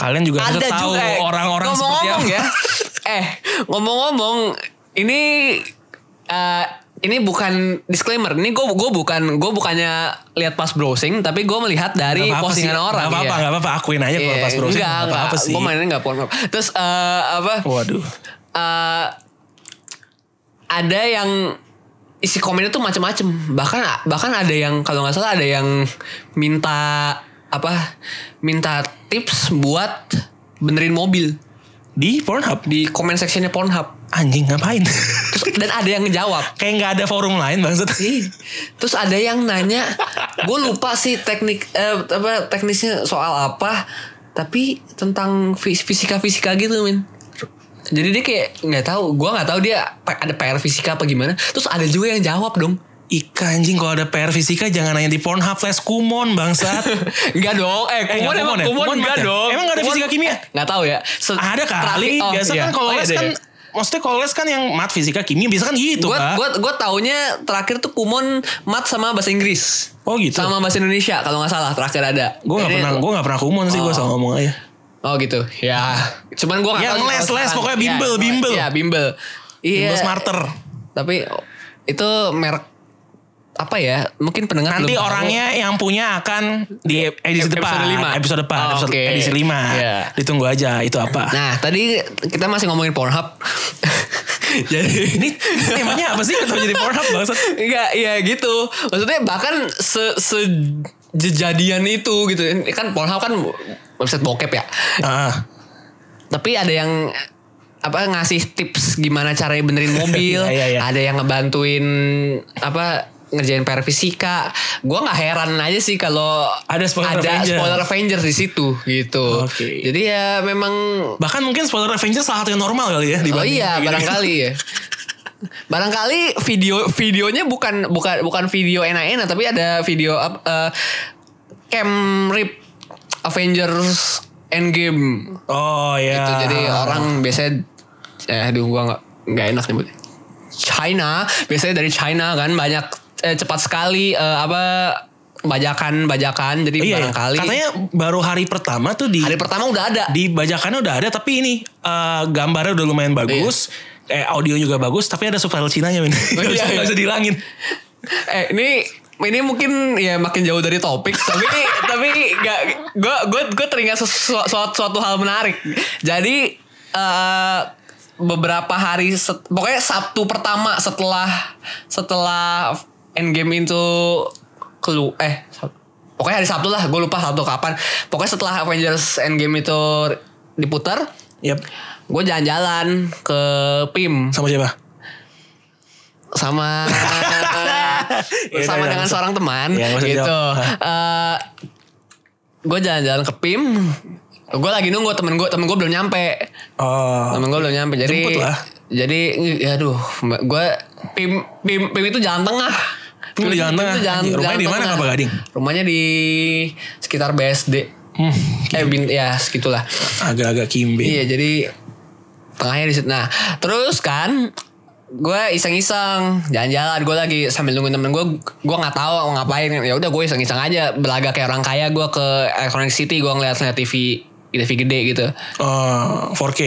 Speaker 1: kalian juga harus tahu
Speaker 2: eh,
Speaker 1: orang-orang seperti
Speaker 2: ngomong-ngomong
Speaker 1: apa
Speaker 2: ya. eh, ngomong-ngomong ini eh, ini bukan disclaimer. Ini gue gue bukan gue bukannya lihat pas browsing, tapi gue melihat
Speaker 1: Nggak
Speaker 2: dari
Speaker 1: apa-apa sih.
Speaker 2: postingan orang.
Speaker 1: Nggak apa-apa
Speaker 2: iya.
Speaker 1: nggak apa-apa akuin aja kalau
Speaker 2: Iya,
Speaker 1: pas browsing
Speaker 2: enggak,
Speaker 1: nggak apa-apa sih
Speaker 2: Gue mainnya nggak porno. Terus eh, apa?
Speaker 1: waduh
Speaker 2: eh, ada yang isi komennya tuh macem-macem. Bahkan bahkan ada yang kalau nggak salah ada yang minta apa? Minta tips buat benerin mobil
Speaker 1: di Pornhub
Speaker 2: di comment sectionnya Pornhub.
Speaker 1: anjing ngapain
Speaker 2: Terus dan ada yang ngejawab.
Speaker 1: kayak nggak ada forum lain maksud
Speaker 2: Ih, Terus ada yang nanya, gue lupa sih teknik eh, apa teknisnya soal apa, tapi tentang fisika fisika gitu min. Jadi dia kayak nggak tahu, gue nggak tahu dia pe- ada PR fisika apa gimana. Terus ada juga yang jawab dong,
Speaker 1: Ika anjing kalau ada PR fisika jangan hanya di Pornhub flash kumon bangsat.
Speaker 2: Enggak dong, eh,
Speaker 1: Eh,
Speaker 2: kumon
Speaker 1: nggak
Speaker 2: emang
Speaker 1: kumon ya?
Speaker 2: kumon
Speaker 1: Kumon
Speaker 2: enggak
Speaker 1: mat ya?
Speaker 2: dong.
Speaker 1: Emang nggak ada
Speaker 2: Kumon-
Speaker 1: fisika kimia? Ah,
Speaker 2: Nggak tahu ya. Se-
Speaker 1: ada kali.
Speaker 2: terapi- oh,
Speaker 1: biasa
Speaker 2: iya.
Speaker 1: kan kalau
Speaker 2: Oh, iya,
Speaker 1: les
Speaker 2: ada
Speaker 1: kan
Speaker 2: ya.
Speaker 1: maksudnya kalau les kan yang mat fisika kimia biasa kan gitu,
Speaker 2: Gue
Speaker 1: Pak.
Speaker 2: gue gue taunya terakhir tuh kumon mat sama bahasa Inggris.
Speaker 1: Oh, gitu.
Speaker 2: Sama bahasa Indonesia kalau nggak salah terakhir ada.
Speaker 1: Gue gak
Speaker 2: Jadi-
Speaker 1: pernah, gue gak pernah kumon sih, gue
Speaker 2: Oh.
Speaker 1: selalu ngomong aja.
Speaker 2: Oh gitu. Ya, cuman gua nggak
Speaker 1: Ya, les,
Speaker 2: tahu sih kalau
Speaker 1: les,
Speaker 2: sekarang.
Speaker 1: pokoknya
Speaker 2: Ya,
Speaker 1: bimbel,
Speaker 2: pokoknya-
Speaker 1: bimbel.
Speaker 2: Ya, bimbel. Iya.
Speaker 1: Bimbel smarter.
Speaker 2: Tapi oh, itu merek apa ya? Mungkin pendengar
Speaker 1: Nanti
Speaker 2: belum tahu. Iya.
Speaker 1: orangnya yang punya akan di edisi
Speaker 2: Episode
Speaker 1: depan,
Speaker 2: lima.
Speaker 1: episode depan,
Speaker 2: Oh,
Speaker 1: episode
Speaker 2: oke.
Speaker 1: edisi 5.
Speaker 2: Iya.
Speaker 1: Ditunggu aja itu apa.
Speaker 2: Nah, tadi kita masih ngomongin Pornhub. Jadi
Speaker 1: Ini temanya apa sih? Kenapa jadi Pornhub bangsat?
Speaker 2: Enggak, ya gitu. Maksudnya bahkan se sejadian itu gitu. Kan Pornhub kan website bokep ya.
Speaker 1: Ah,
Speaker 2: Tapi ada yang apa ngasih tips gimana caranya benerin mobil,
Speaker 1: Iya, iya, iya.
Speaker 2: ada yang ngebantuin apa ngerjain PR fisika. Gua nggak heran aja sih kalau
Speaker 1: Ada spoiler
Speaker 2: ada
Speaker 1: Avenger.
Speaker 2: spoiler Avenger di situ gitu.
Speaker 1: Oke.
Speaker 2: Jadi ya memang
Speaker 1: bahkan mungkin spoiler Avengers salah satu yang normal kali ya
Speaker 2: oh
Speaker 1: dibanding
Speaker 2: iya
Speaker 1: kayak gitu-gitu.
Speaker 2: barangkali ya. barangkali video videonya bukan bukan bukan video enak-enak tapi ada video ap- eh, Cam Rip Avengers Endgame.
Speaker 1: Oh ya.
Speaker 2: Itu Gitu. jadi orang biasanya eh aduh gua nggak nggak enak nyebutnya. China, biasanya dari China kan banyak eh, cepat sekali eh, apa bajakan-bajakan jadi
Speaker 1: Iya, iya.
Speaker 2: barangkali
Speaker 1: katanya baru hari pertama tuh di
Speaker 2: hari pertama udah ada.
Speaker 1: di bajakannya udah ada tapi ini eh, gambarnya udah lumayan bagus. Eh audio juga bagus tapi ada subtitle Cinanya men. Gak bisa,
Speaker 2: iya.
Speaker 1: gak bisa dihilangin.
Speaker 2: Eh ini ini mungkin ya makin jauh dari topik tapi tapi gak gue gue gue teringat sesuatu suatu, suatu hal menarik jadi eh beberapa hari set- pokoknya Sabtu pertama setelah setelah Endgame itu kelu eh Sab- pokoknya hari Sabtu lah gue lupa Sabtu kapan pokoknya setelah Avengers Endgame itu diputar
Speaker 1: Yap.
Speaker 2: gue jalan-jalan ke PIM
Speaker 1: Sama siapa?
Speaker 2: sama
Speaker 1: Iya,
Speaker 2: sama
Speaker 1: iya,
Speaker 2: dengan
Speaker 1: iya.
Speaker 2: seorang teman
Speaker 1: Iya, nggak usah
Speaker 2: gitu.
Speaker 1: dijawab.
Speaker 2: gue jalan-jalan ke PIM. Gue lagi nunggu temen gue, temen gue belum nyampe.
Speaker 1: Oh.
Speaker 2: Temen gue belum nyampe. Jadi
Speaker 1: Jemput lah.
Speaker 2: jadi ya aduh, gue PIM PIM PIM itu jalan tengah.
Speaker 1: PIM di jalan
Speaker 2: itu
Speaker 1: tengah. Rumahnya di mana,
Speaker 2: tengah.
Speaker 1: Kelapa Gading?
Speaker 2: Rumahnya di sekitar BSD.
Speaker 1: Hmm,
Speaker 2: eh
Speaker 1: gitu.
Speaker 2: bin, ya segitulah.
Speaker 1: Agak-agak kimbe.
Speaker 2: Iya jadi tengahnya di situ. Nah terus kan gue iseng-iseng jalan-jalan gue lagi sambil nungguin temen gue gue nggak tahu mau ngapain ya udah gue iseng-iseng aja belaga kayak orang kaya gue ke Electronic City gue ngeliat-ngeliat TV TV gede gitu
Speaker 1: Oh, 4K.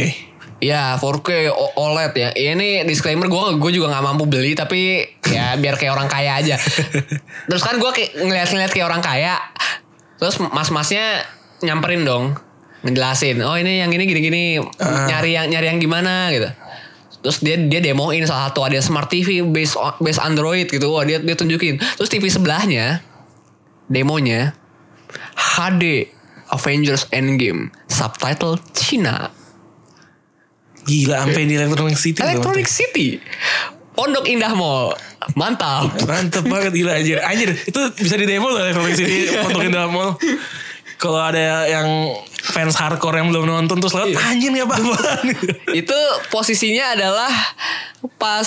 Speaker 2: ya 4K O- OLED ya ini disclaimer gue gue juga nggak mampu beli tapi ya biar kayak orang kaya aja terus kan gue kayak ngeliat-ngeliat kayak orang kaya terus mas-masnya nyamperin dong ngejelasin oh ini yang gini gini-gini nyari yang nyari yang gimana gitu terus dia dia demoin salah satu ada smart TV base on- base Android gitu wah dia dia tunjukin terus TV sebelahnya demonya HD Avengers Endgame subtitle Cina
Speaker 1: Gila sampai di Electronic City. tuh.
Speaker 2: Electronic City. Pondok Indah Mall. Mantap.
Speaker 1: Mantep banget gila anjir. Anjir itu bisa di demo loh Electronic City
Speaker 2: Iya.
Speaker 1: Potongan dalam mall. Kalau ada yang fans hardcore yang belum nonton terus
Speaker 2: Iya.
Speaker 1: lewat anjir gak apa-apa.
Speaker 2: Itu posisinya adalah pas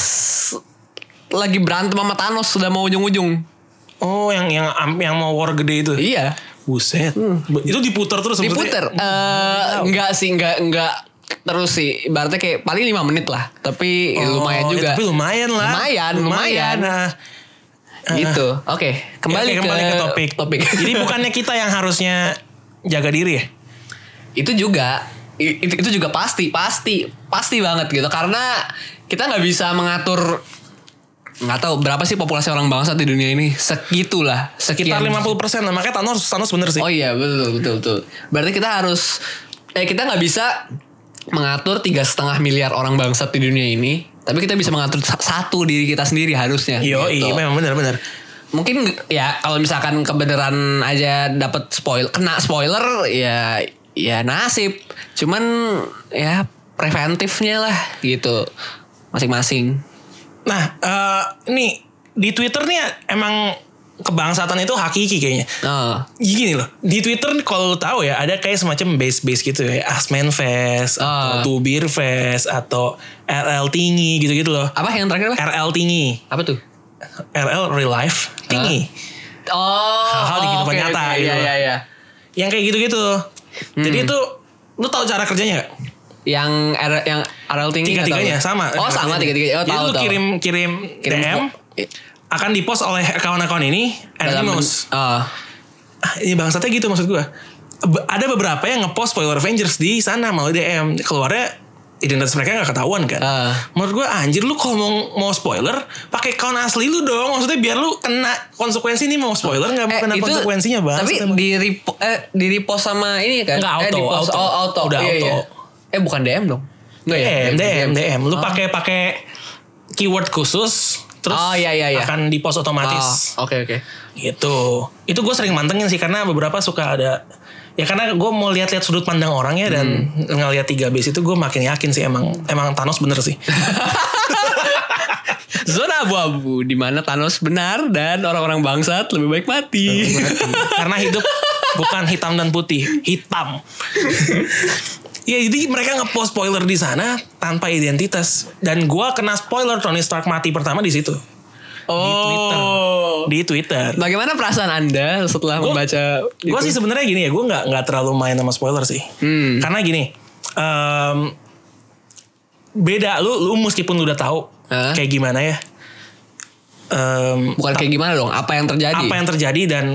Speaker 2: lagi berantem sama Thanos sudah mau ujung-ujung.
Speaker 1: oh yang yang am- yang mau war gede itu.
Speaker 2: Iya.
Speaker 1: Buset. Itu diputar terus maksudnya.
Speaker 2: Hmm. Diputer. Eh enggak sih, enggak enggak terus sih. Ibaratnya kayak paling 5 menit lah. Tapi
Speaker 1: Oh,
Speaker 2: lumayan
Speaker 1: ya,
Speaker 2: juga.
Speaker 1: tapi lumayan lah.
Speaker 2: Lumayan, lumayan.
Speaker 1: Nah,
Speaker 2: gitu. Oke,
Speaker 1: kembali,
Speaker 2: kembali, ke,
Speaker 1: kembali ke, topik.
Speaker 2: Topik.
Speaker 1: Jadi bukannya kita yang harusnya jaga diri ya?
Speaker 2: itu juga i- itu, itu juga pasti pasti pasti banget gitu karena kita nggak bisa mengatur nggak tahu berapa sih populasi orang bangsa di dunia ini segitulah
Speaker 1: Sekitar 50%
Speaker 2: sekian
Speaker 1: lah. Makanya Thanos, Thanos bener sih.
Speaker 2: Iya, oh iya betul betul betul berarti kita harus eh kita nggak bisa mengatur tiga setengah miliar orang bangsa di dunia ini tapi kita bisa mengatur sa- satu diri kita sendiri harusnya
Speaker 1: Yo,
Speaker 2: gitu.
Speaker 1: iya memang bener-bener.
Speaker 2: mungkin ya kalau misalkan kebenaran aja dapat spoiler kena spoiler ya ya nasib cuman ya preventifnya lah gitu masing-masing
Speaker 1: Nah, eh nih di Twitter nih emang kebangsatan itu hakiki kayaknya.
Speaker 2: oh
Speaker 1: Gini loh, di Twitter kalau lu tahu ya ada kayak semacam base-base gitu ya, Asmen Fest,
Speaker 2: Ah.
Speaker 1: atau Tubir Fest, atau RL Tinggi gitu-gitu loh.
Speaker 2: apa yang terakhir apa,
Speaker 1: RL Tinggi,
Speaker 2: apa tuh
Speaker 1: RL Real Life Tinggi,
Speaker 2: Ah. oh
Speaker 1: Hal-hal di
Speaker 2: oh,
Speaker 1: kehidupan
Speaker 2: oke,
Speaker 1: nyata
Speaker 2: oke,
Speaker 1: gitu.
Speaker 2: iya iya iya
Speaker 1: yang kayak gitu-gitu.
Speaker 2: Hmm.
Speaker 1: Jadi itu lu tahu cara kerjanya gak?
Speaker 2: yang R, yang RL tinggi nggak tahu.
Speaker 1: Tiga-tiganya sama.
Speaker 2: oh sama tiga-tiganya oh
Speaker 1: Jadi
Speaker 2: tahu
Speaker 1: lu
Speaker 2: tahu
Speaker 1: kirim kirim,
Speaker 2: Kirim-
Speaker 1: DM akan dipost oleh account-account ini, and
Speaker 2: dalam
Speaker 1: anonymous.
Speaker 2: oh.
Speaker 1: ah, ini bangsatnya gitu maksud gua Be- ada beberapa yang ngepost spoiler Avengers di sana malah DM keluarnya identitas mereka nggak ketahuan kan
Speaker 2: Ah.
Speaker 1: menurut gua anjir lu kalau mau, mau spoiler pakai account asli lu dong maksudnya biar lu kena konsekuensi nih mau spoiler nggak
Speaker 2: Eh,
Speaker 1: kena
Speaker 2: itu-
Speaker 1: konsekuensinya bang
Speaker 2: Tapi di repo, eh, di repost sama ini kan?
Speaker 1: Nggak,
Speaker 2: eh,
Speaker 1: auto,
Speaker 2: di post-
Speaker 1: auto.
Speaker 2: Oh, auto.
Speaker 1: Udah
Speaker 2: Iya,
Speaker 1: auto.
Speaker 2: iya. Eh bukan DM dong. Enggak ya?
Speaker 1: DM, DM, DM. Lu
Speaker 2: Oh.
Speaker 1: pakai pakai keyword khusus terus
Speaker 2: Oh, iya, iya, iya.
Speaker 1: akan di post otomatis.
Speaker 2: Oh, Oke oke.
Speaker 1: Gitu. Itu gue sering mantengin sih karena beberapa suka ada ya karena gue mau lihat-lihat sudut pandang orangnya dan
Speaker 2: Hmm.
Speaker 1: ngelihat tiga base itu gue makin yakin sih emang emang Thanos bener sih.
Speaker 2: Zona abu-abu di mana Thanos benar dan orang-orang bangsat lebih baik mati.
Speaker 1: karena hidup bukan hitam dan putih, hitam. ya jadi mereka ngepost spoiler di sana tanpa identitas dan gue kena spoiler Tony Stark mati pertama di situ. di Twitter.
Speaker 2: Oh.
Speaker 1: Di Twitter.
Speaker 2: Bagaimana perasaan Anda setelah membaca
Speaker 1: Gue sih sebenarnya gini ya, gue nggak nggak terlalu main sama spoiler sih.
Speaker 2: Gitu. Hmm.
Speaker 1: Karena gini, em, beda lu lu meskipun lu udah tahu
Speaker 2: Hah?
Speaker 1: kayak gimana ya. em,
Speaker 2: bukan kayak gimana dong? Apa yang terjadi?
Speaker 1: apa yang terjadi dan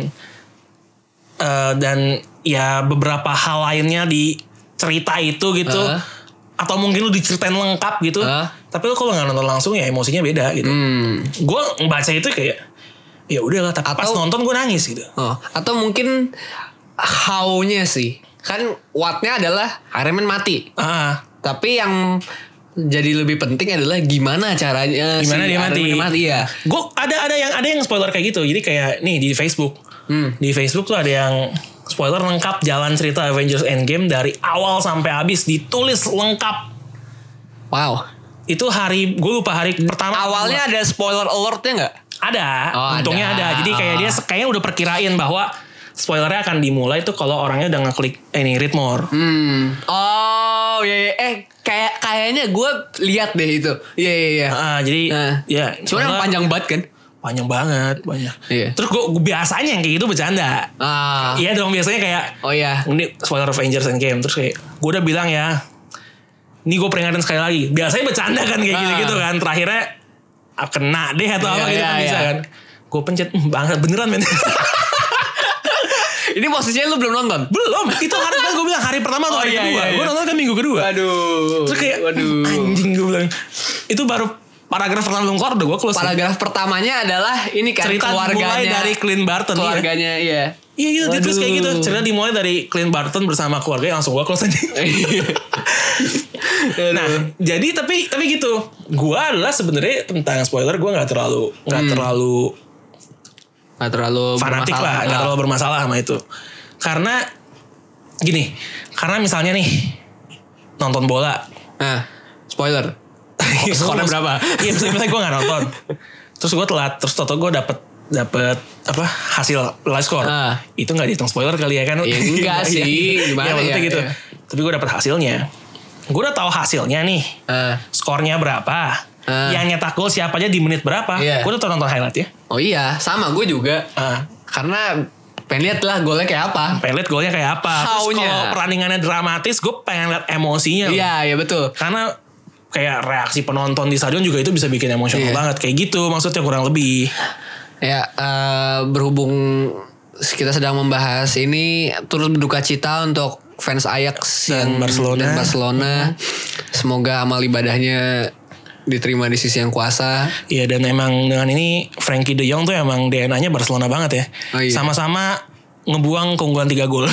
Speaker 1: eh, dan ya beberapa hal lainnya di cerita itu gitu
Speaker 2: Heeh.
Speaker 1: atau mungkin lu diceritain lengkap gitu
Speaker 2: Heeh.
Speaker 1: tapi lu kalau nggak nonton langsung ya emosinya beda gitu
Speaker 2: Hmm.
Speaker 1: gue baca itu kayak ya udahlah tapi pas
Speaker 2: Atau-
Speaker 1: nonton gue nangis gitu
Speaker 2: Oh, atau mungkin how-nya sih. Kan what-nya adalah Iron Man mati.
Speaker 1: ah
Speaker 2: Tapi yang jadi lebih penting adalah gimana caranya
Speaker 1: Gimana
Speaker 2: si
Speaker 1: dia
Speaker 2: Iron
Speaker 1: mati.
Speaker 2: Man mati ya.
Speaker 1: gue ada ada yang ada yang spoiler kayak gitu jadi kayak nih di Facebook
Speaker 2: Hmm,
Speaker 1: di Facebook tuh ada yang spoiler lengkap jalan cerita Avengers Endgame dari awal sampai habis ditulis lengkap
Speaker 2: Wow.
Speaker 1: itu hari gue lupa hari pertama
Speaker 2: Awalnya ada spoiler alert-nya nggak?
Speaker 1: Ada,
Speaker 2: Oh,
Speaker 1: untungnya
Speaker 2: ada.
Speaker 1: ada. Jadi kayak dia se- kayaknya udah perkirain bahwa spoilernya akan dimulai tuh kalau orangnya udah ngeklik ini read more.
Speaker 2: Hmm. Oh, ya, ya. eh kayak kayaknya gue lihat deh itu. Iya, iya, iya.
Speaker 1: Ah, jadi
Speaker 2: Nah.
Speaker 1: ya
Speaker 2: Cuma yang
Speaker 1: spoiler
Speaker 2: panjang banget kan?
Speaker 1: panjang banget, banyak.
Speaker 2: Iya.
Speaker 1: Terus gue biasanya yang kayak gitu bercanda.
Speaker 2: Ah.
Speaker 1: Iya dong biasanya kayak
Speaker 2: Oh iya.
Speaker 1: ini spoiler Avengers Endgame terus kayak gue udah bilang ya ini gue peringatin sekali lagi biasanya bercanda kan kayak
Speaker 2: Ah.
Speaker 1: gitu-gitu kan terakhirnya ah, kena deh atau
Speaker 2: Iya,
Speaker 1: apa gitu
Speaker 2: iya,
Speaker 1: kan bisa
Speaker 2: iya.
Speaker 1: kan gue pencet "Hmm, bangsat beneran men
Speaker 2: Ini posisinya lu belum nonton.
Speaker 1: belum itu hari kan gue bilang hari pertama atau
Speaker 2: Oh,
Speaker 1: hari
Speaker 2: iya,
Speaker 1: kedua
Speaker 2: iya, iya.
Speaker 1: gue nonton kan minggu kedua
Speaker 2: Aduh.
Speaker 1: Terus kayak
Speaker 2: waduh.
Speaker 1: anjing gue bilang itu baru paragraf pertama belum keluar udah gue close.
Speaker 2: Paragraf pertamanya adalah ini kan
Speaker 1: cerita
Speaker 2: keluarganya.
Speaker 1: mulai dari Clint Barton. Iya.
Speaker 2: keluarganya iya.
Speaker 1: Iya gitu, dia terus
Speaker 2: Waduh.
Speaker 1: kayak gitu. Cerita dimulai dari Clint Barton bersama keluarga langsung gue close aja. nah, jadi tapi tapi gitu. Gue adalah sebenarnya tentang spoiler gue nggak terlalu nggak terlalu
Speaker 2: Gak terlalu
Speaker 1: fanatik
Speaker 2: Hmm. bermasalah. Ah.
Speaker 1: lah, nggak terlalu bermasalah sama itu. Karena gini, karena misalnya nih nonton bola,
Speaker 2: Nah, spoiler. Oh, Skornya berapa?
Speaker 1: Iya, misalnya, misalnya gue gak nonton. Terus gue telat, terus toto gue dapet dapet apa hasil live score
Speaker 2: Ah.
Speaker 1: itu nggak dihitung spoiler kali ya kan
Speaker 2: Ya, enggak
Speaker 1: Iya,
Speaker 2: sih.
Speaker 1: iya. ya,
Speaker 2: Gimana
Speaker 1: maksudnya
Speaker 2: ya,
Speaker 1: gitu
Speaker 2: iya.
Speaker 1: tapi gue dapet hasilnya gue udah tahu hasilnya nih
Speaker 2: Ah.
Speaker 1: skornya berapa
Speaker 2: Ah.
Speaker 1: yang nyetak gol siapa aja di menit berapa
Speaker 2: Iya.
Speaker 1: gue udah tau nonton highlight ya
Speaker 2: oh iya, sama gue juga.
Speaker 1: Ah,
Speaker 2: Karena pengen lihat lah golnya kayak apa.
Speaker 1: pengen liat golnya kayak apa terus
Speaker 2: How-nya.
Speaker 1: kalau pertandingannya dramatis gue pengen liat emosinya loh.
Speaker 2: Iya, iya betul.
Speaker 1: karena kayak reaksi penonton di stadion juga itu bisa bikin emosional
Speaker 2: Iya.
Speaker 1: banget kayak gitu maksudnya kurang lebih
Speaker 2: Ya eh, berhubung kita sedang membahas ini turut berduka cita untuk fans Ajax
Speaker 1: Dan
Speaker 2: yang-
Speaker 1: Barcelona.
Speaker 2: dan Barcelona. Mm-hmm. Semoga amal ibadahnya diterima di sisi yang kuasa.
Speaker 1: Iya dan emang dengan ini Frankie De Jong tuh emang DNA-nya Barcelona banget ya.
Speaker 2: Oh, iya. Hmm.
Speaker 1: Sama-sama ngebuang keunggulan 3 gol.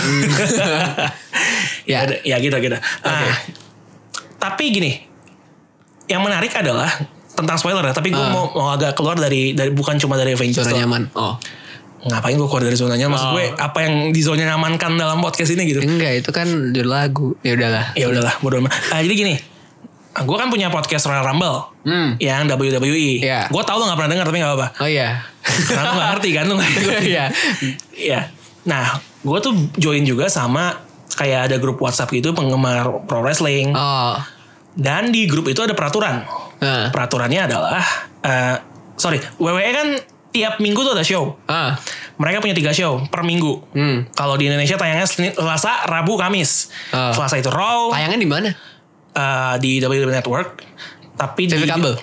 Speaker 1: ya, ya gitu gitu. Ah, tapi gini, yang menarik adalah tentang spoiler ya. Tapi gue
Speaker 2: Ah.
Speaker 1: mau, mau agak keluar dari dari bukan cuma dari Avengers.
Speaker 2: Zona
Speaker 1: doang.
Speaker 2: nyaman. Oh,
Speaker 1: Ngapain gue keluar dari zonanya? Maksud gue
Speaker 2: Ah.
Speaker 1: apa yang di zona nyamankan dalam podcast ini gitu?
Speaker 2: enggak itu kan judul lagu. Ya udahlah.
Speaker 1: Ya udahlah, bodo amat. Ah, jadi gini, gue kan punya podcast Royal Rumble
Speaker 2: Hmm.
Speaker 1: yang E. WWE.
Speaker 2: Iya.
Speaker 1: Gue tau lo gak pernah dengar tapi gak apa-apa.
Speaker 2: Oh iya.
Speaker 1: Karena lu gak ngerti kan lu gak ikutin.
Speaker 2: Iya.
Speaker 1: Iya. Nah, gue tuh join juga sama kayak ada grup WhatsApp gitu penggemar pro wrestling.
Speaker 2: Oh.
Speaker 1: Dan di grup itu ada peraturan.
Speaker 2: Nah.
Speaker 1: Peraturannya adalah, eh sorry, WWE kan tiap minggu tuh ada show.
Speaker 2: Ah.
Speaker 1: Mereka punya tiga show per minggu.
Speaker 2: Hmm.
Speaker 1: Kalau di Indonesia tayangnya Senin- Selasa, Rabu, Kamis.
Speaker 2: Ah.
Speaker 1: Selasa itu Raw
Speaker 2: Tayangan di mana?
Speaker 1: eh, di WWE Network. Tapi di
Speaker 2: TV kabel.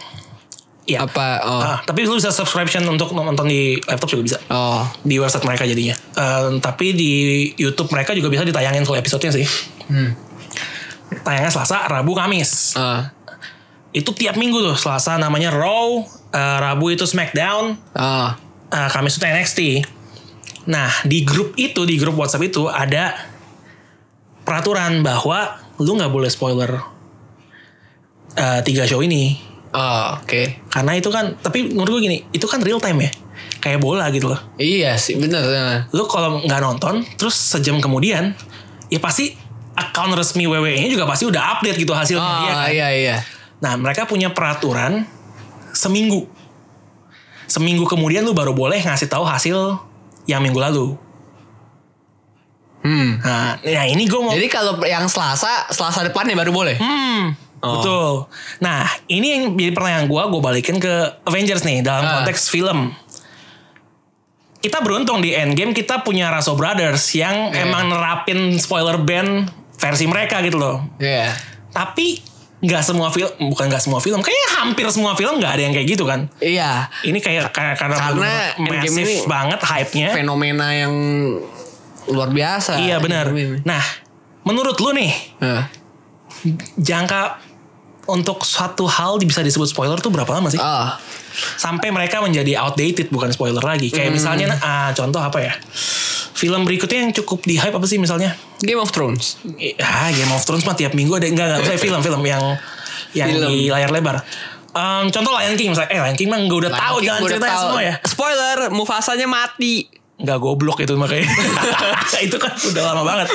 Speaker 1: Iya.
Speaker 2: Apa? Oh.
Speaker 1: Ah, tapi lu bisa subscription untuk nonton di laptop juga bisa.
Speaker 2: Oh.
Speaker 1: di website mereka jadinya. Eh, tapi di YouTube mereka juga bisa ditayangin kalau episodenya sih.
Speaker 2: Hmm.
Speaker 1: Tayangnya Selasa, Rabu, Kamis.
Speaker 2: Ah.
Speaker 1: Itu tiap minggu tuh. Selasa namanya Raw, eh, Rabu itu SmackDown,
Speaker 2: Oh.
Speaker 1: eh, Kamis itu NXT. Nah di grup itu, di grup WhatsApp itu ada peraturan bahwa lu nggak boleh spoiler eh, tiga show ini.
Speaker 2: Oh, oke.
Speaker 1: Karena itu kan, tapi menurut gue gini, itu kan real time ya. Kayak bola gitu loh.
Speaker 2: Iya sih, bener. bener.
Speaker 1: lu kalau nggak nonton terus sejam kemudian ya pasti account resmi WWE-nya juga pasti udah update gitu hasilnya
Speaker 2: Oh,
Speaker 1: dia kan.
Speaker 2: iya iya.
Speaker 1: Nah, mereka punya peraturan seminggu. Seminggu kemudian lu baru boleh ngasih tahu hasil yang minggu lalu.
Speaker 2: Hmm.
Speaker 1: Nah, nah ini gue mau
Speaker 2: Jadi kalau yang Selasa, Selasa depannya ya baru boleh.
Speaker 1: Hmm.
Speaker 2: Oh.
Speaker 1: Betul. Nah, ini yang jadi pertanyaan gue, gue balikin ke Avengers nih dalam
Speaker 2: Ah.
Speaker 1: konteks film. Kita beruntung di Endgame kita punya Russo Brothers yang
Speaker 2: Iya.
Speaker 1: emang nerapin spoiler ban versi mereka gitu loh.
Speaker 2: Iya.
Speaker 1: Tapi nggak semua film, bukan nggak semua film, kayaknya hampir semua film nggak ada yang kayak gitu kan.
Speaker 2: Iya.
Speaker 1: Ini kayak karena, karena,
Speaker 2: Karena
Speaker 1: bener-bener
Speaker 2: Endgame
Speaker 1: masif
Speaker 2: ini
Speaker 1: banget hype-nya.
Speaker 2: Fenomena yang luar biasa.
Speaker 1: Eh? Iya benar.
Speaker 2: Ini.
Speaker 1: Nah, menurut lu nih
Speaker 2: Nah.
Speaker 1: jangka untuk suatu hal bisa disebut spoiler tuh berapa lama sih?
Speaker 2: Ah.
Speaker 1: Sampai mereka menjadi outdated bukan spoiler lagi.
Speaker 2: Hmm.
Speaker 1: Kayak misalnya ah, contoh apa ya? Film berikutnya yang cukup di hype apa sih misalnya?
Speaker 2: Game of Thrones.
Speaker 1: Ah, Game of Thrones mah tiap minggu ada enggak enggak saya film-film yang yang
Speaker 2: Film.
Speaker 1: di layar lebar. Em, contoh Lion King misalnya. Eh Lion King mah gue udah tahu
Speaker 2: Lion King
Speaker 1: jalan
Speaker 2: gua udah
Speaker 1: ceritanya
Speaker 2: tahu.
Speaker 1: semua ya.
Speaker 2: Spoiler, Mufasanya mati.
Speaker 1: Enggak goblok itu makanya. itu kan udah lama banget.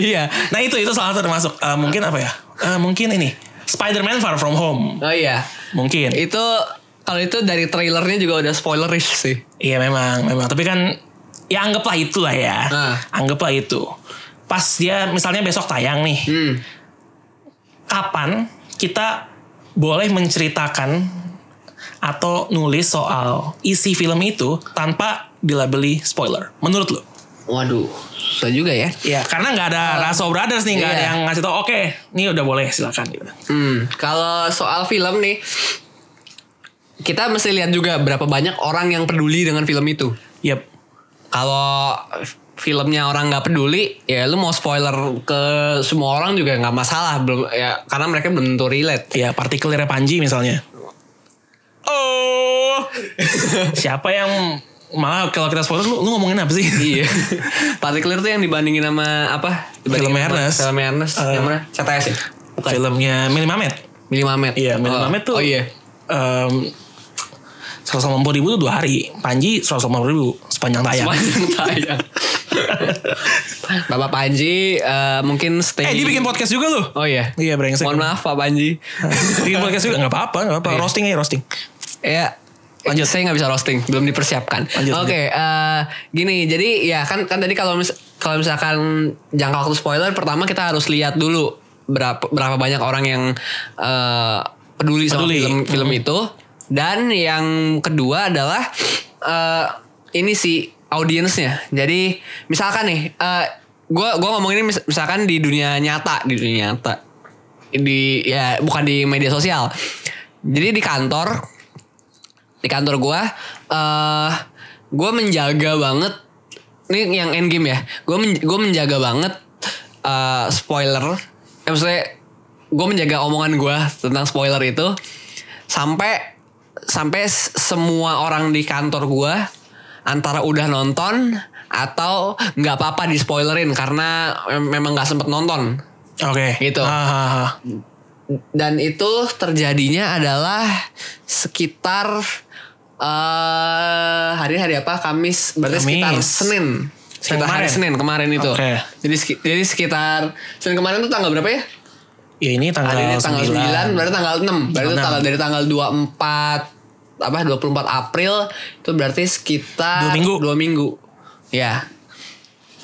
Speaker 2: Iya.
Speaker 1: Nah itu itu salah satu termasuk Eh, mungkin apa ya? Eh, mungkin ini Spider-Man Far From Home
Speaker 2: Oh iya.
Speaker 1: mungkin.
Speaker 2: Itu kalau itu dari trailernya juga udah spoilerish sih.
Speaker 1: Iya memang memang. Tapi kan ya anggaplah itu lah ya.
Speaker 2: Ah.
Speaker 1: Anggaplah itu. Pas dia misalnya besok tayang nih,
Speaker 2: Hmm.
Speaker 1: kapan kita boleh menceritakan atau nulis soal isi film itu tanpa dilabeli spoiler? Menurut lo?
Speaker 2: Waduh, susah juga ya.
Speaker 1: Ya karena nggak ada Raso Brothers nih nggak ada
Speaker 2: Iya.
Speaker 1: yang ngasih tau. Oke, ini udah boleh silakan gitu.
Speaker 2: Hmm, kalau soal film nih, kita mesti lihat juga berapa banyak orang yang peduli dengan film itu.
Speaker 1: Yep.
Speaker 2: Kalau filmnya orang nggak peduli, ya lu mau spoiler ke semua orang juga nggak masalah, belum ya karena mereka belum tentu relate.
Speaker 1: Ya partikelnya Panji misalnya.
Speaker 2: Oh,
Speaker 1: Siapa yang malah kalau kita spoiler lu, lu ngomongin apa sih?
Speaker 2: iya. Particular tuh yang dibandingin sama apa? Dibandingin
Speaker 1: Film
Speaker 2: sama-
Speaker 1: Ernest.
Speaker 2: Film Ernest.
Speaker 1: Eh.
Speaker 2: yang mana? CTS ya?
Speaker 1: Filmnya Mili Mamet.
Speaker 2: Mili Mamet.
Speaker 1: Iya, Mili
Speaker 2: Oh.
Speaker 1: Mamet tuh.
Speaker 2: Oh iya.
Speaker 1: Em, 150 ribu tuh dua hari. Panji 150 ribu sepanjang tayang.
Speaker 2: Sepanjang tayang. Bapak Panji eh, mungkin stay.
Speaker 1: eh dia bikin podcast juga lu.
Speaker 2: Oh iya.
Speaker 1: Iya brengsek. Iya.
Speaker 2: Mohon maaf Pak Panji.
Speaker 1: bikin podcast juga nggak apa-apa, nggak apa-apa. Roasting aja roasting.
Speaker 2: ya. Lanjut. Saya nggak bisa roasting, belum dipersiapkan.
Speaker 1: Lanjut,
Speaker 2: Oke, eh, gini. Jadi ya kan kan tadi kalau mis- kalau misalkan jangka waktu spoiler, pertama kita harus lihat dulu berapa berapa banyak orang yang eh, peduli, sama
Speaker 1: Peduli. Hmm.
Speaker 2: film film itu. Dan yang kedua adalah eh, ini si audiensnya. Jadi misalkan nih, eh, gua gue ngomong ini mis- misalkan di dunia nyata, di dunia nyata, di ya bukan di media sosial. Jadi di kantor di kantor gua eh gua menjaga banget ini yang endgame ya gua men- gua menjaga banget eh spoiler eh, maksudnya gua menjaga omongan gua tentang spoiler itu sampai sampai s- semua orang di kantor gua antara udah nonton atau nggak apa-apa di spoilerin karena mem- memang nggak sempet nonton
Speaker 1: Oke.
Speaker 2: Gitu.
Speaker 1: Ah, ah, ah.
Speaker 2: dan itu terjadinya adalah sekitar eh hari-hari apa Kamis berarti
Speaker 1: Kamis.
Speaker 2: sekitar Senin sekitar
Speaker 1: kemarin.
Speaker 2: hari Senin kemarin itu
Speaker 1: Oke.
Speaker 2: jadi seki- jadi sekitar Senin kemarin itu tanggal berapa ya
Speaker 1: Ya ini tanggal,
Speaker 2: hari ini tanggal 9,
Speaker 1: 9.
Speaker 2: berarti tanggal 6 berarti itu
Speaker 1: 6.
Speaker 2: tanggal dari tanggal 24 apa 24 April itu berarti sekitar
Speaker 1: Dua minggu.
Speaker 2: dua minggu ya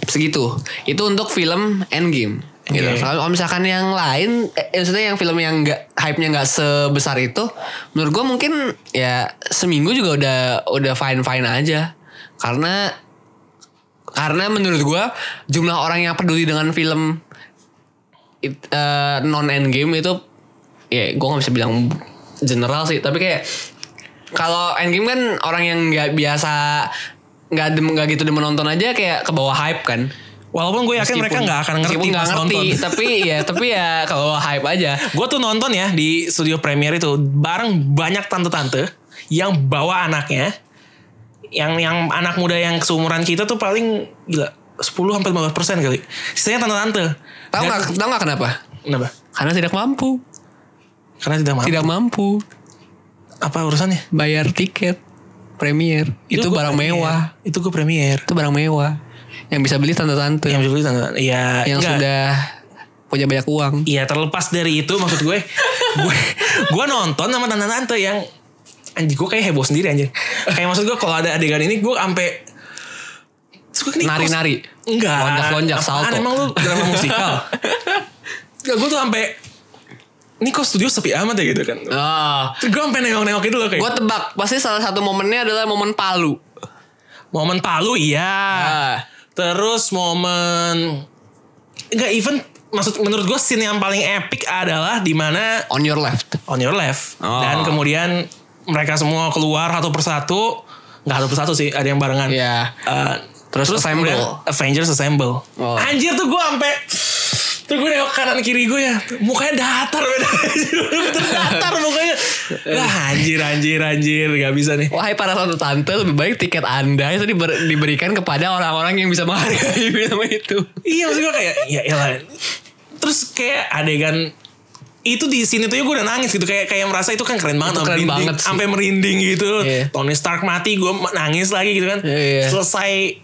Speaker 2: segitu itu untuk film Endgame gitu
Speaker 1: Oke.
Speaker 2: kalau kalau misalkan yang lain eh, eh, maksudnya yang film yang nggak hype nya nggak sebesar itu menurut gue mungkin ya seminggu juga udah udah fine fine aja karena karena menurut gue jumlah orang yang peduli dengan film non endgame itu ya gue nggak bisa bilang general sih tapi kayak kalau endgame kan orang yang nggak biasa nggak dem- nggak gitu demen nonton aja kayak ke bawah hype kan
Speaker 1: Walaupun gue yakin Iya, mereka nggak akan ngerti
Speaker 2: meskipun nggak
Speaker 1: pas
Speaker 2: ngerti
Speaker 1: nonton.
Speaker 2: tapi ya tapi ya kalau hype aja
Speaker 1: Gue tuh nonton ya di studio premiere itu bareng banyak tante-tante yang bawa anaknya. Yang yang anak muda yang seumuran kita tuh paling gila 10 sampai 15 persen kali. Sisanya tante-tante.
Speaker 2: tahu
Speaker 1: Dan-
Speaker 2: nggak tahu nggak kenapa
Speaker 1: Kenapa?
Speaker 2: karena tidak mampu
Speaker 1: Karena tidak mampu.
Speaker 2: tidak mampu
Speaker 1: Apa urusannya?
Speaker 2: bayar tiket premier itu,
Speaker 1: Iya, gua
Speaker 2: barang
Speaker 1: premier.
Speaker 2: mewah
Speaker 1: Itu gue premier.
Speaker 2: itu barang mewah yang bisa beli tante-tante
Speaker 1: Yang dulu tante Iya.
Speaker 2: yang
Speaker 1: enggak.
Speaker 2: sudah punya banyak uang
Speaker 1: Iya terlepas dari itu maksud gue. gue gue nonton sama tante-tante yang anjing gue kayak heboh sendiri anjing. Kayak maksud gue kalau ada adegan ini gue ampe suka nih,
Speaker 2: nari-nari
Speaker 1: Enggak.
Speaker 2: Lonjak-lonjak,
Speaker 1: Apaan,
Speaker 2: salto.
Speaker 1: Emang lu drama musikal? Enggak, gue tuh sampai ini kok studio sepi amat ya gitu kan.
Speaker 2: Ah,
Speaker 1: Terus gue sampai nengok-nengok gitu loh kayak.
Speaker 2: gue tebak pasti salah satu momennya adalah momen Palu.
Speaker 1: Momen Palu iya.
Speaker 2: Ah.
Speaker 1: Terus momen nggak even maksud menurut gue scene yang paling epic adalah di mana
Speaker 2: On your left.
Speaker 1: on your left
Speaker 2: Oh.
Speaker 1: dan kemudian mereka semua keluar satu persatu nggak satu persatu sih ada yang barengan
Speaker 2: Iya.
Speaker 1: Eh,
Speaker 2: Terus assemble.
Speaker 1: kemudian Avengers assemble
Speaker 2: Oh.
Speaker 1: anjir tuh gue sampai tuh gue nengok kanan kiri gue ya mukanya datar beda bener datar mukanya lah anjir anjir anjir nggak bisa nih
Speaker 2: Wahai para tante tante lebih baik tiket anda itu diber- diberikan kepada orang-orang yang bisa menghargai film itu.
Speaker 1: Iya maksud gue kayak ya elah. Terus kayak adegan itu di sini tuh ya gue udah nangis gitu kayak kayak merasa itu kan keren banget
Speaker 2: Itu keren
Speaker 1: merinding,
Speaker 2: banget sih.
Speaker 1: sampai merinding gitu
Speaker 2: Iya.
Speaker 1: Tony Stark mati gue nangis lagi gitu kan
Speaker 2: Iya, iya.
Speaker 1: selesai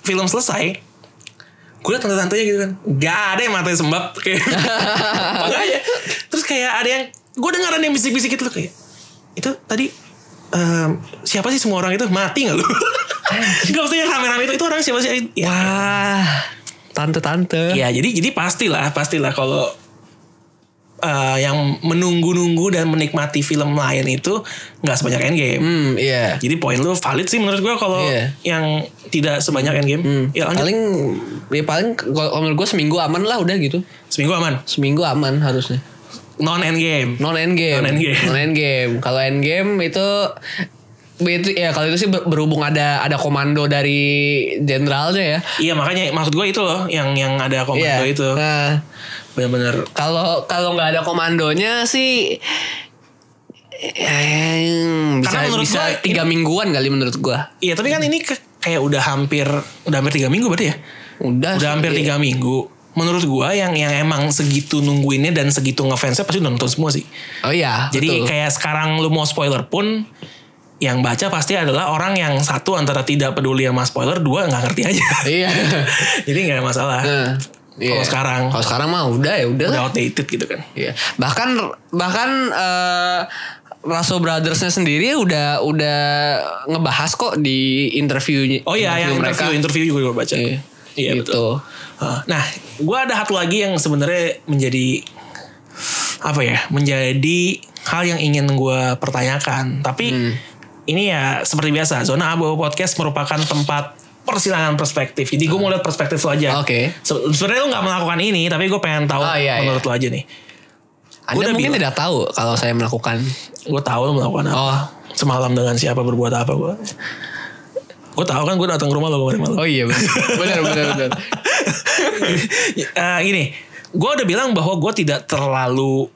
Speaker 1: film selesai gue liat tante-tantenya gitu kan gak ada yang matanya sembab kayak makanya terus kayak ada yang gue dengar ada yang bisik-bisik gitu loh kayak itu tadi em, siapa sih semua orang itu mati gak lu Gak maksudnya yang rame-rame itu itu orang siapa sih ya
Speaker 2: Wah, tante-tante.
Speaker 1: Iya, jadi jadi pastilah, pastilah kalau eh, yang menunggu-nunggu dan menikmati film lain itu nggak sebanyak Endgame.
Speaker 2: Hmm, iya.
Speaker 1: Jadi poin lu valid sih menurut gua kalau
Speaker 2: Iya. Hmm.
Speaker 1: yang tidak sebanyak Endgame. Ya lanjut.
Speaker 2: Paling, ya paling kalau menurut gue seminggu aman lah udah gitu.
Speaker 1: Seminggu aman.
Speaker 2: Seminggu aman harusnya.
Speaker 1: Non Endgame.
Speaker 2: Non endgame.
Speaker 1: Non endgame.
Speaker 2: Non endgame. Kalau endgame itu itu ya kalau itu sih ber- berhubung ada ada komando dari jenderalnya ya.
Speaker 1: Iya makanya maksud gua itu loh yang yang ada komando
Speaker 2: Iya.
Speaker 1: itu
Speaker 2: Nah,
Speaker 1: benar-benar
Speaker 2: kalau kalau nggak ada komandonya sih eh, bisa
Speaker 1: Karena menurut
Speaker 2: bisa
Speaker 1: gua ini-
Speaker 2: tiga mingguan kali menurut gua.
Speaker 1: Iya tapi kan ini ke- kayak udah hampir udah hampir tiga minggu berarti ya.
Speaker 2: Udah.
Speaker 1: Udah hampir tiga minggu. Menurut gua yang yang emang segitu nungguinnya dan segitu ngefansnya pasti udah nonton semua sih.
Speaker 2: Oh iya.
Speaker 1: Jadi
Speaker 2: betul.
Speaker 1: kayak sekarang lu mau spoiler pun yang baca pasti adalah orang yang satu antara tidak peduli sama spoiler, dua nggak ngerti aja.
Speaker 2: iya.
Speaker 1: Jadi nggak ada masalah.
Speaker 2: Nah, iya.
Speaker 1: Kalau sekarang.
Speaker 2: Kalau sekarang mah udah ya udah. lah.
Speaker 1: Udah outdated gitu kan.
Speaker 2: Iya. Bahkan bahkan eh Raso Brothersnya sendiri udah udah ngebahas kok di interviewnya.
Speaker 1: Oh iya, yang interview, interview juga gue baca.
Speaker 2: Iya.
Speaker 1: Iya betul.
Speaker 2: Gitu.
Speaker 1: Uh, Nah, gue ada satu lagi yang sebenarnya menjadi apa ya? Menjadi hal yang ingin gue pertanyakan. Tapi
Speaker 2: Hmm.
Speaker 1: ini ya seperti biasa, zona abu podcast merupakan tempat persilangan perspektif. Jadi gue mau lihat perspektif lo aja.
Speaker 2: Oke.
Speaker 1: Se- Sebenarnya lo nggak melakukan ini, tapi gue pengen tahu
Speaker 2: Oh, iya,
Speaker 1: menurut lo aja nih.
Speaker 2: Anda
Speaker 1: udah
Speaker 2: mungkin tidak tahu kalau saya melakukan.
Speaker 1: Gue tahu lo melakukan apa.
Speaker 2: Oh.
Speaker 1: Semalam dengan siapa berbuat apa gue. Gue tahu kan gue datang ke rumah lo kemarin malam.
Speaker 2: Oh iya benar. benar benar benar.
Speaker 1: Eh, gini, gue udah bilang bahwa gue tidak terlalu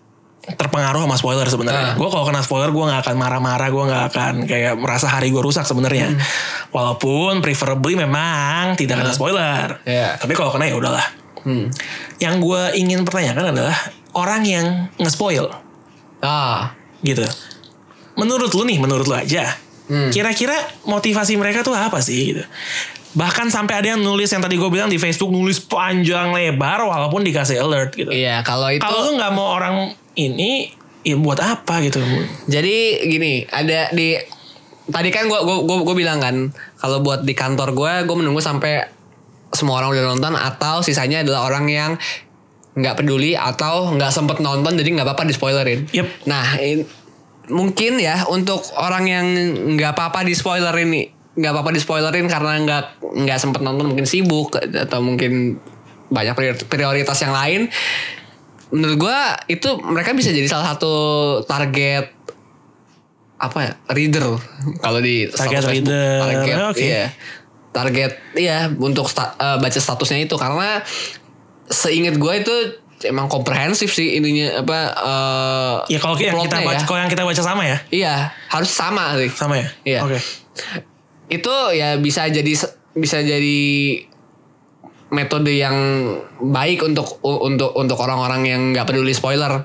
Speaker 1: terpengaruh sama spoiler sebenarnya.
Speaker 2: Ah.
Speaker 1: Gue kalau kena spoiler gue nggak akan marah-marah, gue nggak akan kayak merasa hari gue rusak sebenarnya.
Speaker 2: Hmm.
Speaker 1: Walaupun preferably memang tidak kena spoiler.
Speaker 2: Ah. Iya.
Speaker 1: Tapi kalau kena ya udahlah.
Speaker 2: Hmm.
Speaker 1: Yang gue ingin pertanyakan adalah orang yang nge-spoil
Speaker 2: Ah.
Speaker 1: gitu. Menurut lu nih, menurut lu aja.
Speaker 2: Hmm.
Speaker 1: Kira-kira motivasi mereka tuh apa sih gitu. Bahkan sampai ada yang nulis yang tadi gue bilang di Facebook nulis panjang lebar walaupun dikasih alert gitu.
Speaker 2: Iya, kalau itu
Speaker 1: Kalau lu nggak mau orang ini ya buat apa gitu.
Speaker 2: Jadi gini, ada di tadi kan gua gua gua, gua bilang kan kalau buat di kantor gua gua menunggu sampai semua orang udah nonton atau sisanya adalah orang yang nggak peduli atau nggak sempet nonton jadi nggak apa-apa di spoilerin.
Speaker 1: Yep.
Speaker 2: Nah, in- mungkin ya untuk orang yang nggak apa-apa di spoilerin nih, nggak apa-apa di spoilerin karena nggak nggak sempet nonton mungkin sibuk atau mungkin banyak prior- prioritas yang lain menurut gua itu mereka bisa jadi salah satu target apa ya reader kalau di
Speaker 1: Target
Speaker 2: status
Speaker 1: reader.
Speaker 2: target
Speaker 1: Oke.
Speaker 2: iya target iya untuk sta- eh, baca statusnya itu karena seingat gua itu emang komprehensif sih ininya apa eh,
Speaker 1: Ya kalau yang kita
Speaker 2: plotnya
Speaker 1: baca,
Speaker 2: ya.
Speaker 1: kalau yang kita baca sama ya,
Speaker 2: iya harus sama sih
Speaker 1: sama ya.
Speaker 2: Iya.
Speaker 1: Oke.
Speaker 2: itu ya bisa jadi bisa jadi metode yang baik untuk untuk untuk orang-orang yang nggak peduli spoiler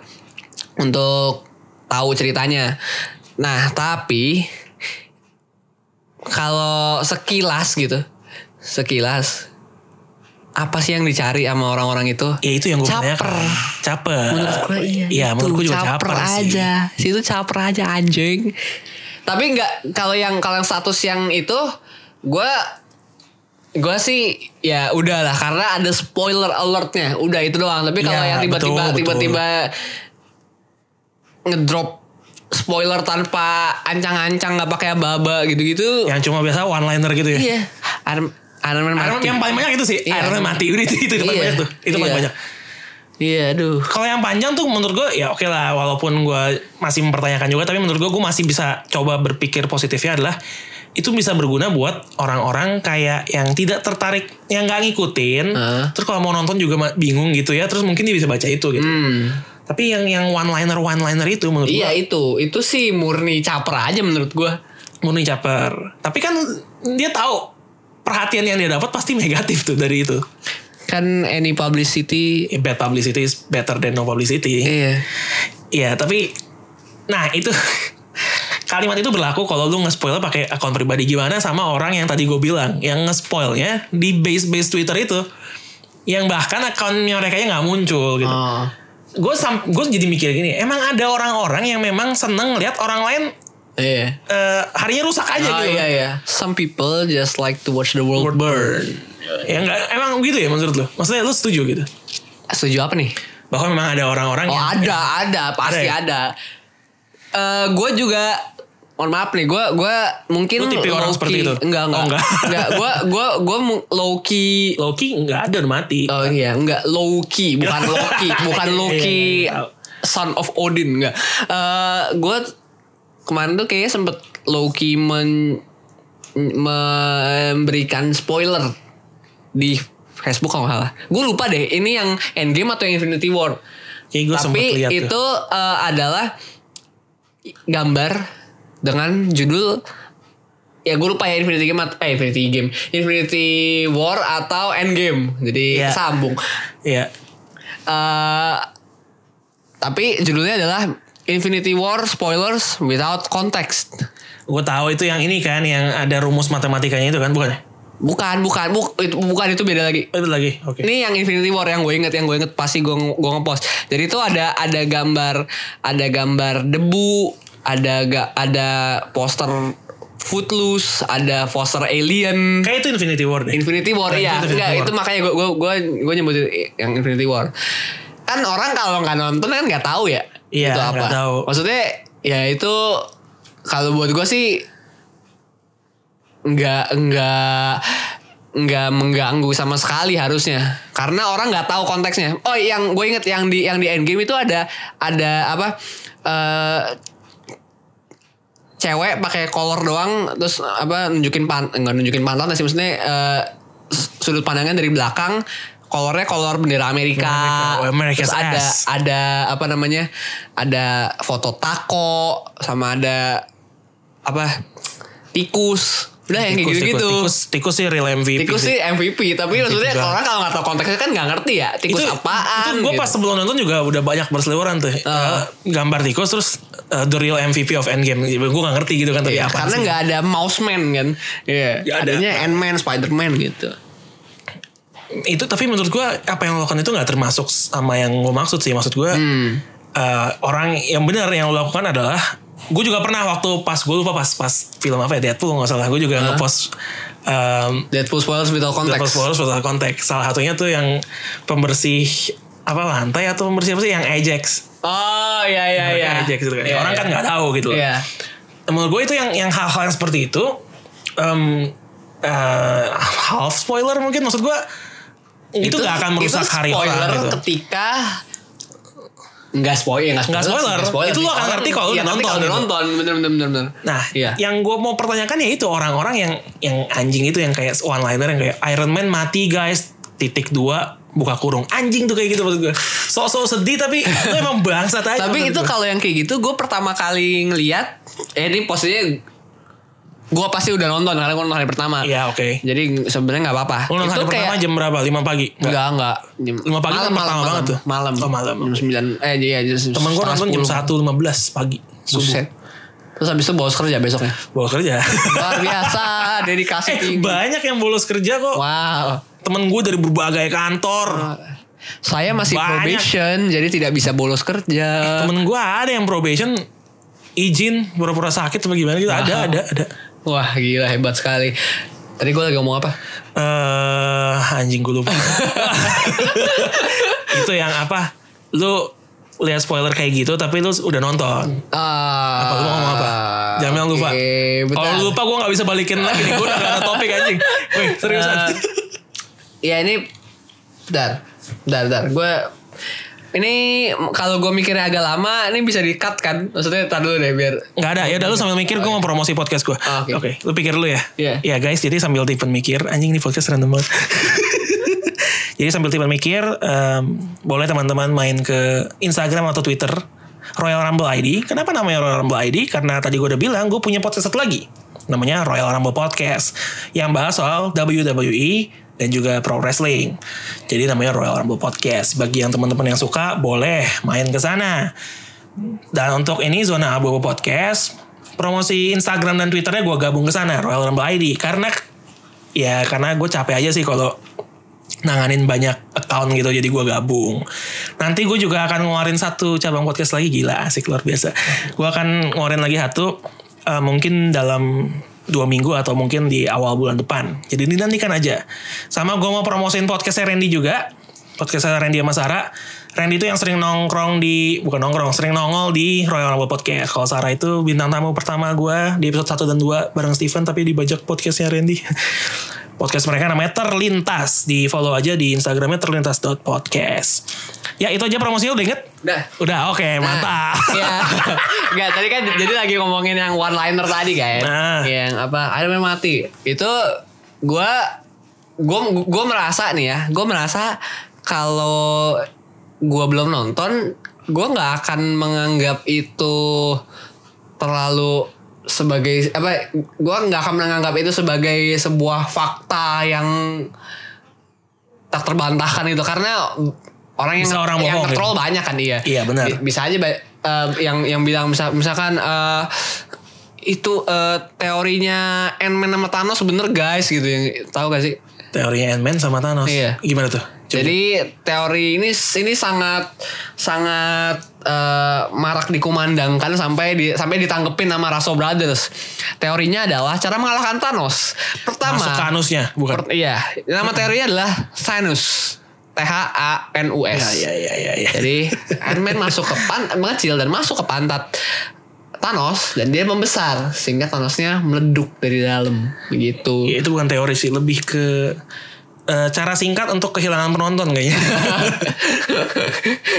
Speaker 2: untuk tahu ceritanya. Nah, tapi kalau sekilas gitu, sekilas apa sih yang dicari sama orang-orang itu?
Speaker 1: Ya itu yang gue
Speaker 2: Caper.
Speaker 1: tanyakan. Caper.
Speaker 2: Menurut gue
Speaker 1: Iya,
Speaker 2: iya. gitu.
Speaker 1: menurut gue juga
Speaker 2: caper,
Speaker 1: caper, sih.
Speaker 2: aja. Situ caper aja anjing. Tapi nggak kalau yang kalau yang status yang itu gue gue sih ya udahlah karena ada spoiler alertnya udah itu doang tapi kalau
Speaker 1: Iya,
Speaker 2: yang tiba-tiba
Speaker 1: betul, betul.
Speaker 2: tiba-tiba ngedrop spoiler tanpa ancang-ancang nggak pakai aba-aba gitu-gitu.
Speaker 1: Yang cuma biasa one liner gitu ya.
Speaker 2: Iya. Iron, Iron Man
Speaker 1: Iron Man-
Speaker 2: mati.
Speaker 1: yang paling banyak itu sih.
Speaker 2: Iya.
Speaker 1: Iron Man mati. Udah itu, itu, itu paling
Speaker 2: Iya.
Speaker 1: banyak tuh. Itu paling
Speaker 2: Iya.
Speaker 1: banyak.
Speaker 2: Iya, aduh.
Speaker 1: Kalau yang panjang tuh menurut gue ya oke lah walaupun gue masih mempertanyakan juga tapi menurut gue gue masih bisa coba berpikir positifnya adalah itu bisa berguna buat orang-orang kayak yang tidak tertarik yang nggak ngikutin
Speaker 2: Heeh.
Speaker 1: terus kalau mau nonton juga ma- bingung gitu ya terus mungkin dia bisa baca itu gitu
Speaker 2: Hmm.
Speaker 1: tapi yang yang one liner one liner itu menurut gue
Speaker 2: Iya itu, itu sih murni caper aja menurut gua.
Speaker 1: murni caper tapi kan dia tahu perhatian yang dia dapat pasti negatif tuh dari itu
Speaker 2: Kan any publicity.
Speaker 1: Ya, bad publicity is better than no publicity
Speaker 2: Iya.
Speaker 1: Iya, tapi nah itu kalimat itu berlaku kalau lu nge-spoil pakai akun pribadi gimana sama orang yang tadi gue bilang yang nge-spoilnya di base-base Twitter itu yang bahkan akunnya mereka nggak muncul gitu.
Speaker 2: Oh.
Speaker 1: Gue sam- gue jadi mikir gini, emang ada orang-orang yang memang seneng lihat orang lain
Speaker 2: Iya.
Speaker 1: eh, harinya rusak aja
Speaker 2: Oh,
Speaker 1: gitu.
Speaker 2: iya iya. Some people just like to watch the world burn.
Speaker 1: Ya nggak emang gitu ya menurut lu? Maksudnya lu setuju gitu?
Speaker 2: Setuju apa nih? Iya.
Speaker 1: Bahwa memang ada orang-orang
Speaker 2: Oh
Speaker 1: yang
Speaker 2: ada, ada, pasti
Speaker 1: Ada ya?
Speaker 2: ada. Eh, gue juga mohon maaf nih, gue gue mungkin
Speaker 1: Lu tipe orang
Speaker 2: low-key-
Speaker 1: seperti itu?
Speaker 2: Enggak, enggak.
Speaker 1: Oh, enggak.
Speaker 2: enggak, gue gue gue low key
Speaker 1: Loki nggak ada udah mati.
Speaker 2: Oh iya, enggak low key, bukan low key, bukan low key
Speaker 1: Iya, iya,
Speaker 2: son of Odin enggak. Eh gue kemarin tuh kayaknya sempet low key men- memberikan spoiler di Facebook kalau nggak salah. Gue lupa deh, ini yang Endgame atau yang Infinity War.
Speaker 1: Kayak gue
Speaker 2: Tapi
Speaker 1: sempet lihat tuh.
Speaker 2: itu eh, adalah gambar dengan judul ya gue lupa ya Infinity Game atau eh, Infinity Game, Infinity War atau Endgame. Jadi
Speaker 1: Iya.
Speaker 2: sambung.
Speaker 1: Iya.
Speaker 2: Eh, tapi judulnya adalah Infinity War spoilers without context.
Speaker 1: Gue tahu itu yang ini kan yang ada rumus matematikanya itu kan bukan? ya?
Speaker 2: Bukan, bukan, bu- itu, bukan itu beda lagi.
Speaker 1: Oh, Itu lagi. Oke.
Speaker 2: Ini yang Infinity War yang gue inget, yang gue inget pasti gue gue ngepost. Jadi itu ada ada gambar, ada gambar debu, ada ga, ada poster Footloose, ada poster Alien.
Speaker 1: Kayak itu Infinity War deh.
Speaker 2: Infinity War
Speaker 1: Nah, itu
Speaker 2: ya,
Speaker 1: Infinity
Speaker 2: enggak
Speaker 1: War.
Speaker 2: itu makanya gue gue gue gue nyebut yang Infinity War. Kan orang kalau nggak nonton kan nggak tahu ya
Speaker 1: Iya,
Speaker 2: itu apa.
Speaker 1: nggak tahu.
Speaker 2: Maksudnya ya itu kalau buat gue sih nggak nggak nggak mengganggu sama sekali harusnya karena orang nggak tahu konteksnya oh yang gue inget yang di yang di endgame itu ada ada apa eh cewek pakai kolor doang terus apa nunjukin pan enggak nunjukin pantat sih maksudnya eh, sudut pandangnya dari belakang kolornya kolor bendera Amerika,
Speaker 1: Amerika. Oh, America's
Speaker 2: terus ada
Speaker 1: ass.
Speaker 2: ada apa namanya ada foto taco sama ada apa tikus udah yang kayak
Speaker 1: Tikus,
Speaker 2: gitu gitu
Speaker 1: Tikus, tikus sih real MVP.
Speaker 2: tikus sih MVP tapi maksudnya
Speaker 1: juga.
Speaker 2: orang kalau nggak tahu konteksnya kan nggak ngerti ya tikus
Speaker 1: Itu
Speaker 2: apaan
Speaker 1: gue
Speaker 2: gitu. Ah.
Speaker 1: pas sebelum nonton juga udah banyak berseliweran tuh. Eh, gambar tikus terus eh, the real MVP of Endgame. Gue gak ngerti gitu kan tapi
Speaker 2: Iya,
Speaker 1: apa
Speaker 2: karena
Speaker 1: sih.
Speaker 2: nggak ada mouse man kan Iya
Speaker 1: Nggak ada.
Speaker 2: adanya ant man spider man gitu
Speaker 1: Itu tapi menurut gue apa yang lo lakukan itu gak termasuk sama yang gue maksud sih. Maksud gue
Speaker 2: Hmm.
Speaker 1: eh, orang yang benar yang lo lakukan adalah gue juga pernah waktu pas gue lupa pas pas film apa ya Deadpool nggak salah gue juga ngepost em,
Speaker 2: Deadpool spoilers without
Speaker 1: Double
Speaker 2: context.
Speaker 1: Flowers Botol Konteks. Salah satunya tuh yang pembersih apa lantai atau pembersih apa sih yang Ajax.
Speaker 2: Oh iya iya
Speaker 1: Mereka
Speaker 2: iya.
Speaker 1: Ajax gitu kan.
Speaker 2: Iya,
Speaker 1: Orang kan
Speaker 2: iya.
Speaker 1: nggak tahu gitu loh.
Speaker 2: Iya.
Speaker 1: Menurut gue itu yang yang hal-hal yang seperti itu em, eh, half spoiler mungkin maksud gue itu nggak akan merusak
Speaker 2: itu
Speaker 1: hari
Speaker 2: spoiler
Speaker 1: orang gitu.
Speaker 2: ketika Enggak spoiler, enggak spoiler.
Speaker 1: Nggak
Speaker 2: sih,
Speaker 1: spoiler.
Speaker 2: iya, nggak
Speaker 1: Itu
Speaker 2: sih.
Speaker 1: lu akan
Speaker 2: Orang-
Speaker 1: ngerti kalau lu
Speaker 2: iya, ngerti
Speaker 1: nonton
Speaker 2: Kalau
Speaker 1: gitu.
Speaker 2: nonton, bener bener bener. bener.
Speaker 1: Nah,
Speaker 2: iya.
Speaker 1: yang gue mau pertanyakan ya itu orang-orang yang yang anjing itu yang kayak one liner yang kayak Iron Man mati guys titik dua buka kurung anjing tuh kayak gitu maksud gue sok-sok sedih tapi lu emang bangsat aja
Speaker 2: Tapi
Speaker 1: menurut
Speaker 2: itu
Speaker 1: gue.
Speaker 2: kalau yang kayak gitu gue pertama kali ngeliat eh ini posisinya gue pasti udah nonton karena gue nonton hari pertama.
Speaker 1: Iya oke.
Speaker 2: Jadi sebenarnya nggak apa-apa.
Speaker 1: Lu nonton
Speaker 2: itu
Speaker 1: hari pertama jam berapa? 5 pagi?
Speaker 2: Enggak, enggak. Jam,
Speaker 1: Lima pagi kan pertama banget tuh.
Speaker 2: Malam.
Speaker 1: Oh, malam.
Speaker 2: Jam 9. Eh, iya. jam
Speaker 1: Temen gue
Speaker 2: setengah
Speaker 1: nonton jam
Speaker 2: 10.
Speaker 1: 1.15 pagi. Subuh.
Speaker 2: Buset. Terus habis itu bolos kerja besoknya.
Speaker 1: Bawa kerja.
Speaker 2: Luar biasa, dedikasi
Speaker 1: eh,
Speaker 2: tinggi.
Speaker 1: banyak yang bolos kerja kok.
Speaker 2: Wow.
Speaker 1: Temen gue dari berbagai kantor.
Speaker 2: Saya masih
Speaker 1: Banyak.
Speaker 2: probation, jadi tidak bisa bolos kerja.
Speaker 1: Temen gue ada yang probation izin pura-pura sakit atau gimana gitu. Ada,
Speaker 2: Wow.
Speaker 1: ada, ada.
Speaker 2: Wah, gila hebat sekali. Tadi gue lagi ngomong apa?
Speaker 1: Eh anjing gue lupa. itu yang apa? Lu lihat spoiler kayak gitu tapi lu udah nonton.
Speaker 2: Ah.
Speaker 1: Apa lu mau ngomong apa? Jangan bilang lupa.
Speaker 2: Oke, bentar.
Speaker 1: Kalau lu lupa gue gak bisa balikin lagi nih. Gue udah gak ada topik anjing. Wih seriusan.
Speaker 2: Eh, ya ini dar dar dar gue ini kalau gue mikirnya agak lama ini bisa di cut kan maksudnya tar dulu deh biar
Speaker 1: Gak ada ya udah lu sambil mikir gue mau promosi podcast gue.
Speaker 2: Ah, oke.
Speaker 1: Oke lu pikir dulu ya.
Speaker 2: Iya.
Speaker 1: Ya guys jadi sambil Tiffan mikir. Anjing nih podcast random banget. jadi sambil Tiffan mikir. em, boleh teman-teman main ke Instagram atau Twitter. Royal Rumble ID. Kenapa namanya Royal Rumble ID? Karena tadi gue udah bilang gue punya podcast satu lagi. Namanya Royal Rumble Podcast. Yang bahas soal WWE dan juga pro wrestling. Jadi namanya Royal Rumble Podcast. Bagi yang teman-teman yang suka boleh main ke sana. Dan untuk ini zona abu-abu podcast, promosi Instagram dan Twitternya gue gabung ke sana Royal Rumble ID karena ya karena gue capek aja sih kalau nanganin banyak account gitu jadi gue gabung nanti gue juga akan ngeluarin satu cabang podcast lagi gila asik luar biasa gue akan ngeluarin lagi satu eh, mungkin dalam dua minggu atau mungkin di awal bulan depan jadi dinantikan aja sama gue mau promosiin podcastnya Randy juga podcastnya Randy sama Sarah. Randy itu yang sering nongkrong di bukan nongkrong, sering nongol di Royal Rumble Podcast. Kalau Sarah itu bintang tamu pertama gue di episode 1 dan 2 bareng Steven tapi dibajak podcastnya Randy. Podcast mereka namanya Terlintas. Di follow aja di Instagramnya terlintas.podcast. Ya itu aja promosinya udah inget?
Speaker 2: Udah.
Speaker 1: Udah
Speaker 2: Nah,
Speaker 1: oke Nah, mantap.
Speaker 2: ya nggak tadi kan jadi lagi ngomongin yang one liner tadi kan
Speaker 1: Nah.
Speaker 2: yang apa Iron Man mati itu gue gue gue merasa nih ya gue merasa kalau gue belum nonton gue nggak akan menganggap itu terlalu sebagai apa gue nggak akan menganggap itu sebagai sebuah fakta yang tak terbantahkan itu karena orang yang
Speaker 1: Bisa orang
Speaker 2: yang
Speaker 1: bohong gitu.
Speaker 2: nge-troll banyak kan iya
Speaker 1: Iya, benar.
Speaker 2: Bi- bisa aja ba- eh, yang yang bilang misal, misalkan eh, itu eh, teorinya Ant-Man sama Thanos bener guys gitu yang tahu gak sih
Speaker 1: Teorinya Ant-Man sama Thanos.
Speaker 2: Iya.
Speaker 1: Gimana tuh? Coba.
Speaker 2: jadi teori ini ini sangat sangat eh, marak dikumandangkan sampai di, sampai ditanggepin sama Russo Brothers. Teorinya adalah cara mengalahkan Thanos. Pertama,
Speaker 1: Masuk ke anusnya, bukan?
Speaker 2: per- iya, nama teorinya adalah Sinus. T H A N U S.
Speaker 1: Ya ya ya ya.
Speaker 2: Jadi Ant-Man masuk ke pan mengecil dan masuk ke pantat Thanos dan dia membesar sehingga Thanosnya meleduk dari dalam begitu.
Speaker 1: Ya, itu bukan teori sih, lebih ke eh, cara singkat untuk kehilangan penonton kayaknya.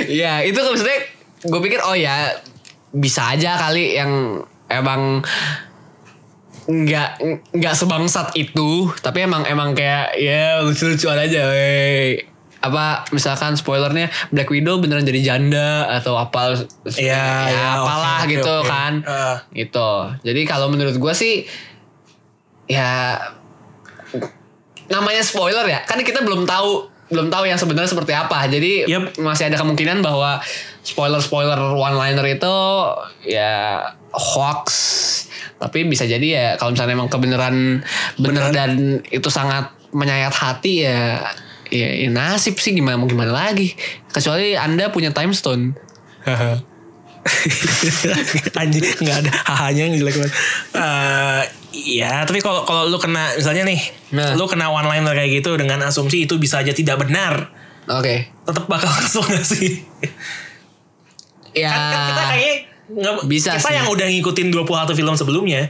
Speaker 2: ya itu maksudnya gue pikir oh ya bisa aja kali yang emang nggak nggak sebangsat itu tapi emang emang kayak ya lucu-lucuan aja wey. apa misalkan spoilernya Black Widow beneran jadi janda atau apa
Speaker 1: Iya, ya,
Speaker 2: apalah
Speaker 1: oke, oke,
Speaker 2: gitu
Speaker 1: oke.
Speaker 2: kan
Speaker 1: Ah.
Speaker 2: gitu jadi kalau menurut gue sih ya namanya spoiler ya kan kita belum tahu belum tahu yang sebenarnya seperti apa jadi
Speaker 1: Yep.
Speaker 2: masih ada kemungkinan bahwa spoiler spoiler one liner itu ya hoax tapi bisa jadi ya kalau misalnya emang kebenaran bener dan itu sangat menyayat hati ya ya, ya nasib sih gimana mau gimana lagi kecuali anda punya time stone
Speaker 1: anjing nggak ada hahanya yang jelek banget Eh, ya tapi kalau kalau lu kena misalnya nih
Speaker 2: Nah.
Speaker 1: lu kena one liner kayak gitu dengan asumsi itu bisa aja tidak benar
Speaker 2: oke
Speaker 1: tetap bakal kesel gak sih
Speaker 2: ya
Speaker 1: kan, kan kita kayaknya nggak-
Speaker 2: Bisa
Speaker 1: kita
Speaker 2: sih. Hmm.
Speaker 1: yang udah ngikutin 21 film sebelumnya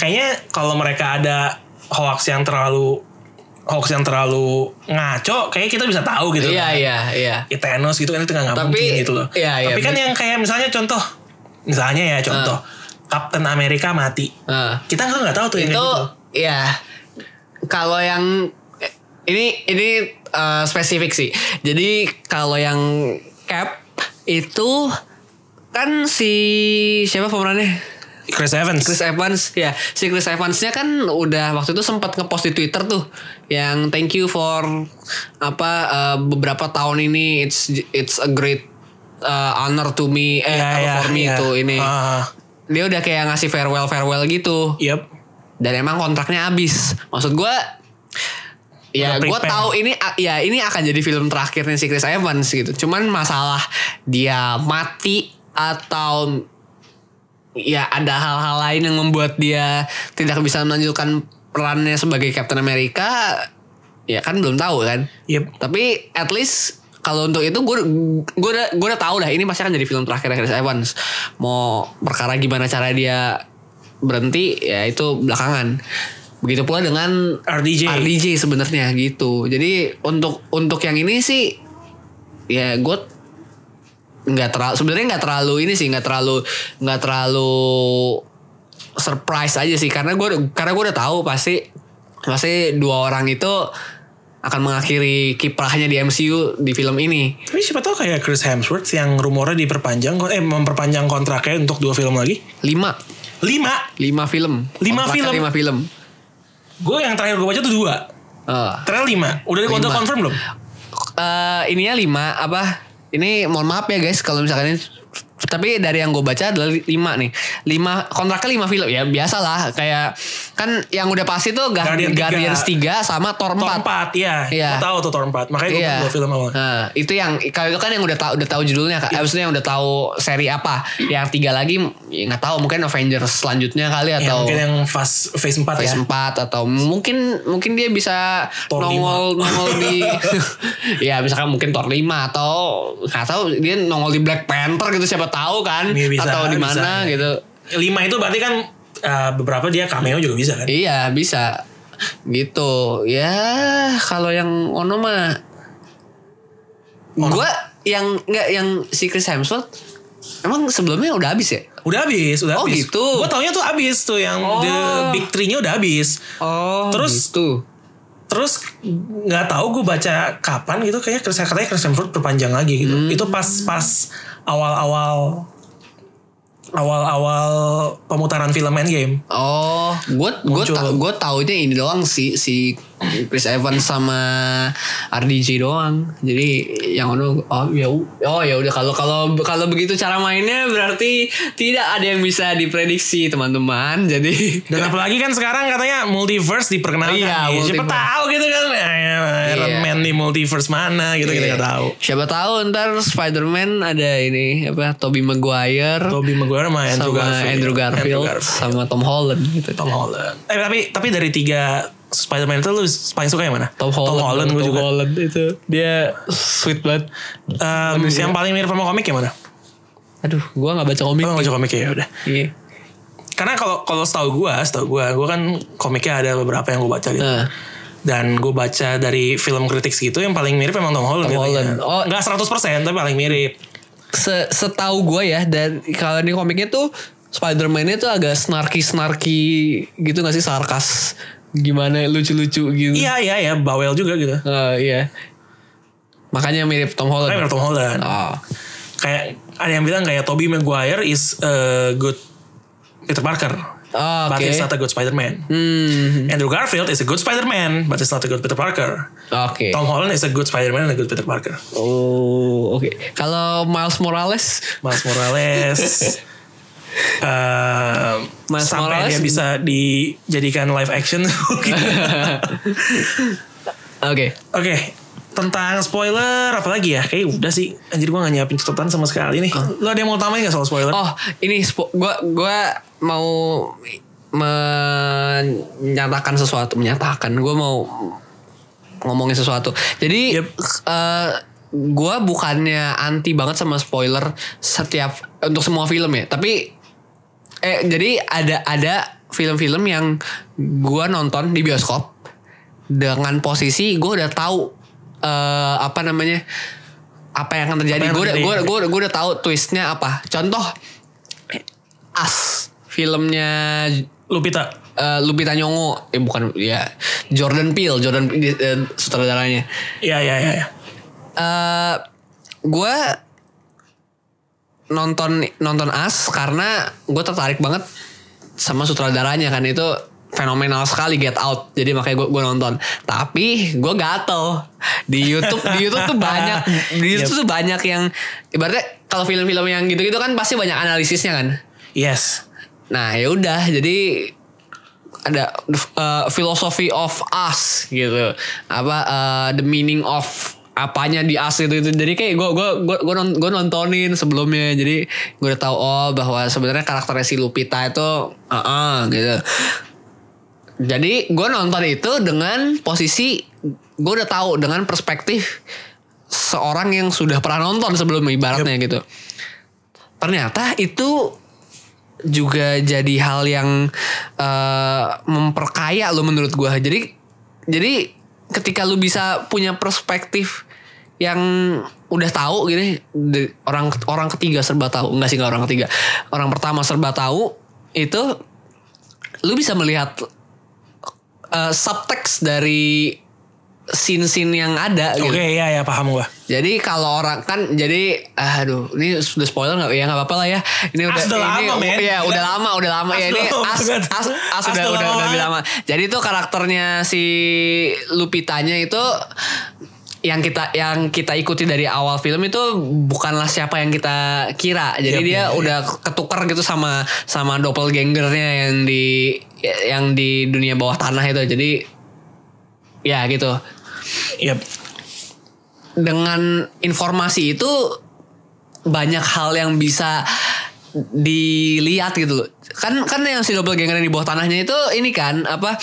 Speaker 1: kayaknya kalau mereka ada hoax yang terlalu hoax yang terlalu ngaco kayaknya kita bisa tahu gitu
Speaker 2: iya iya iya
Speaker 1: ya Thanos gitu kan itu nggak nggak
Speaker 2: Tapi,
Speaker 1: mungkin gitu loh.
Speaker 2: iya, iya,
Speaker 1: Tapi kan
Speaker 2: bener.
Speaker 1: yang kayak misalnya contoh, misalnya ya contoh, Captain America mati.
Speaker 2: Ah.
Speaker 1: Kita kan nggak tahu tuh yang
Speaker 2: itu
Speaker 1: kayak gitu.
Speaker 2: ya kalau yang ini ini eh, spesifik sih jadi kalau yang cap itu kan si siapa pemerannya
Speaker 1: Chris Evans.
Speaker 2: Chris Evans ya si Chris Evansnya kan udah waktu itu sempat ngepost di Twitter tuh yang thank you for apa eh, beberapa tahun ini it's it's a great eh, honor to me
Speaker 1: Ya,
Speaker 2: eh apa
Speaker 1: ya,
Speaker 2: for me
Speaker 1: ya.
Speaker 2: tuh ini
Speaker 1: Ah,
Speaker 2: dia udah kayak ngasih farewell farewell gitu
Speaker 1: yep.
Speaker 2: dan emang kontraknya habis. Maksud gua ya
Speaker 1: Udah
Speaker 2: gua
Speaker 1: prepare.
Speaker 2: tahu ini ya ini akan jadi film terakhirnya si Chris Evans gitu. Cuman masalah dia mati atau ya ada hal-hal lain yang membuat dia tidak bisa melanjutkan perannya sebagai Captain America ya kan belum tahu kan.
Speaker 1: Yep.
Speaker 2: Tapi at least kalau untuk itu gue gue udah gue udah tahu dah ini pasti akan jadi film terakhir Chris Evans. Mau perkara gimana cara dia berhenti ya itu belakangan. Begitu pula dengan
Speaker 1: RDJ.
Speaker 2: RDJ sebenarnya gitu. Jadi untuk untuk yang ini sih ya gue nggak terlalu sebenarnya nggak terlalu ini sih nggak terlalu nggak terlalu surprise aja sih karena gue karena gue udah tahu pasti pasti dua orang itu akan mengakhiri kiprahnya di MCU di film ini
Speaker 1: Tapi siapa tahu kayak Chris Hemsworth yang rumornya diperpanjang eh memperpanjang kontraknya untuk dua film lagi.
Speaker 2: lima
Speaker 1: Lima.
Speaker 2: lima film
Speaker 1: Lima
Speaker 2: Kontraknya
Speaker 1: film.
Speaker 2: lima film
Speaker 1: Gue yang terakhir gue baca tuh dua.
Speaker 2: Eh,
Speaker 1: Ternyata lima. Udah udah
Speaker 2: Lima.
Speaker 1: confirm belum?
Speaker 2: eh, ininya lima apa ini mohon maaf ya guys kalau misalkan ini tapi dari yang gue baca adalah li- lima nih lima kontraknya lima film ya biasalah kayak kan yang udah pasti tuh Gar-
Speaker 1: Guardian tiga.
Speaker 2: Guardians 3 sama Thor
Speaker 1: Thor
Speaker 2: 4
Speaker 1: empat ya.
Speaker 2: Iya.
Speaker 1: Gue tahu tuh Thor empat. Makanya gue bilang dua film awal.
Speaker 2: Nah, itu yang kalau itu kan yang udah tahu udah tahu judulnya, Kak. Eh, maksudnya yang udah tahu seri apa. Yang tiga lagi ya nggak tahu mungkin Avengers selanjutnya kali
Speaker 1: Ya,
Speaker 2: atau
Speaker 1: mungkin yang fast phase empat
Speaker 2: Phase
Speaker 1: ya.
Speaker 2: 4 atau mungkin mungkin dia bisa
Speaker 1: Thor
Speaker 2: nongol nongol di ya misalkan mungkin Thor 5 atau nggak tahu dia nongol di Black Panther gitu siapa tahu kan
Speaker 1: Iya, bisa,
Speaker 2: atau di mana
Speaker 1: bisa.
Speaker 2: gitu.
Speaker 1: Lima itu berarti kan eh, beberapa dia cameo juga bisa kan?
Speaker 2: Iya bisa gitu ya kalau yang Ono mah gue yang nggak yang si Chris Hemsworth emang sebelumnya udah habis ya
Speaker 1: Udah habis, udah
Speaker 2: Oh,
Speaker 1: habis.
Speaker 2: gitu.
Speaker 1: Gue taunya tuh habis tuh yang the
Speaker 2: Oh.
Speaker 1: big three-nya udah habis.
Speaker 2: oh
Speaker 1: Terus-
Speaker 2: gitu
Speaker 1: Terus nggak tahu gue baca kapan gitu kayaknya Chris, katanya Chris Hemsworth berpanjang lagi gitu.
Speaker 2: Hmm.
Speaker 1: Itu pas-pas awal-awal awal-awal pemutaran film Endgame.
Speaker 2: oh gue gue
Speaker 1: Muncul.
Speaker 2: ta gue taunya ini doang si si Chris Evans sama RDJ doang jadi yang Ono oh ya u- oh ya udah kalau kalau kalau begitu cara mainnya berarti tidak ada yang bisa diprediksi teman-teman jadi
Speaker 1: Dan apalagi kan sekarang katanya multiverse diperkenalkan.
Speaker 2: Iya,
Speaker 1: nih. Siapa
Speaker 2: multiverse.
Speaker 1: tahu gitu kan Iron
Speaker 2: Iya.
Speaker 1: Man di multiverse mana gitu kita nggak
Speaker 2: Iya.
Speaker 1: tahu.
Speaker 2: Siapa tahu ntar Spider-Man ada ini apa Tobey Maguire
Speaker 1: Tobey Maguire sama Andrew
Speaker 2: sama
Speaker 1: Garfield.
Speaker 2: Andrew Garfield, sama Tom Holland gitu.
Speaker 1: Tom Holland. Eh, tapi tapi dari tiga Spider-Man itu lu paling suka yang mana?
Speaker 2: Tom Holland.
Speaker 1: Tom Holland gue
Speaker 2: Tom
Speaker 1: juga.
Speaker 2: Holland itu dia sweet banget.
Speaker 1: Em,
Speaker 2: iya.
Speaker 1: yang paling mirip sama komik yang mana?
Speaker 2: Aduh, gua nggak baca komik.
Speaker 1: Gue baca komik ya udah.
Speaker 2: Iya.
Speaker 1: Karena kalau kalau setahu gue, setahu gue, gue kan komiknya ada beberapa yang gue baca gitu.
Speaker 2: Nah,
Speaker 1: Dan gue baca dari film kritik gitu yang paling mirip emang Tom Holland.
Speaker 2: Tom Holland.
Speaker 1: Oh,
Speaker 2: Oh. Hmm.
Speaker 1: nggak 100% tapi paling mirip.
Speaker 2: se- setahu gua ya dan kalau di komiknya tuh Spider-Man-nya tuh agak snarky-snarky gitu gak sih sarkas gimana lucu-lucu gitu.
Speaker 1: Iya iya iya, bawel juga gitu.
Speaker 2: Eh, iya. Makanya mirip
Speaker 1: Tapi
Speaker 2: Tom Holland.
Speaker 1: mirip Tom Holland.
Speaker 2: Oh.
Speaker 1: Kayak ada yang bilang kayak Tobey Maguire is a good Peter Parker.
Speaker 2: Oh,
Speaker 1: But
Speaker 2: Oke.
Speaker 1: he's not a good Spider-Man.
Speaker 2: Hmm.
Speaker 1: Andrew Garfield is a good Spider-Man, but he's not a good Peter Parker.
Speaker 2: Oke.
Speaker 1: Tom Holland is a good Spider-Man and a good Peter Parker.
Speaker 2: Oh, oke. Kalau Miles Morales,
Speaker 1: Miles Morales. eh,
Speaker 2: Miles
Speaker 1: sampai dia
Speaker 2: Morales-
Speaker 1: bisa dijadikan live action. Oke,
Speaker 2: oke.
Speaker 1: tentang spoiler apa lagi ya? Kayak udah sih. Anjir gua gak nyiapin catatan sama sekali nih. Lo ada yang mau tambahin gak soal spoiler?
Speaker 2: Ah. Oh, ini spo- gua gua mau menyatakan sesuatu, menyatakan. Gua mau ngomongin sesuatu. Jadi eh
Speaker 1: Yep.
Speaker 2: gua bukannya anti banget sama spoiler setiap untuk semua film ya, tapi eh jadi ada ada film-film yang gua nonton di bioskop dengan posisi gua udah tahu eh apa namanya apa yang akan terjadi
Speaker 1: Apa yang
Speaker 2: gue udah
Speaker 1: terjadi.
Speaker 2: gue gue gue udah tahu twistnya apa contoh as filmnya
Speaker 1: Lupita.
Speaker 2: eh, Lupita Nyong'o eh bukan ya Jordan Peele Jordan Peele, eh, sutradaranya
Speaker 1: Iya, iya, iya. Ya.
Speaker 2: eh gue nonton nonton As karena gue tertarik banget sama sutradaranya kan itu fenomenal sekali Get Out jadi makanya gue nonton tapi gue gatel di YouTube di YouTube tuh banyak di YouTube tuh banyak yang ibaratnya kalau film-film yang gitu-gitu kan pasti banyak analisisnya kan
Speaker 1: Yes.
Speaker 2: nah ya udah jadi ada uh, philosophy of us gitu apa uh, the meaning of apanya di us itu itu jadi kayak gue gua gua gua, non- gua nontonin sebelumnya jadi gue udah tahu oh bahwa sebenarnya karakternya si Lupita itu ah ah, gitu jadi gue nonton itu dengan posisi gue udah tahu dengan perspektif seorang yang sudah pernah nonton sebelum ibaratnya gitu. Ternyata itu juga jadi hal yang eh, memperkaya lo menurut gua. Jadi jadi ketika lu bisa punya perspektif yang udah tahu gini de- orang orang ketiga serba tahu enggak sih enggak orang ketiga orang pertama serba tahu itu lu bisa melihat eh, subtext dari scene-scene yang ada gitu.
Speaker 1: Oke, iya ya paham gua.
Speaker 2: Jadi kalau orang kan jadi aduh ini sudah spoiler nggak ya nggak apa-apa lah ya. Ini udah
Speaker 1: udah
Speaker 2: ini,
Speaker 1: lama, men.
Speaker 2: Iya,
Speaker 1: Gila.
Speaker 2: udah lama, udah lama
Speaker 1: As
Speaker 2: ya ini
Speaker 1: udah lama
Speaker 2: as
Speaker 1: banget.
Speaker 2: as, as,
Speaker 1: As
Speaker 2: udah
Speaker 1: udah lama kan?
Speaker 2: udah udah lebih
Speaker 1: banget.
Speaker 2: lama. Jadi itu karakternya si Lupitanya itu yang kita yang kita ikuti dari awal film itu bukanlah siapa yang kita kira. Jadi
Speaker 1: Yap,
Speaker 2: dia
Speaker 1: yap,
Speaker 2: udah ketukar gitu sama sama doppelgangernya yang di yang di dunia bawah tanah itu. Jadi ya gitu
Speaker 1: Iya.
Speaker 2: dengan informasi itu banyak hal yang bisa dilihat gitu loh. Kan kan yang si doppelganger yang di bawah tanahnya itu ini kan apa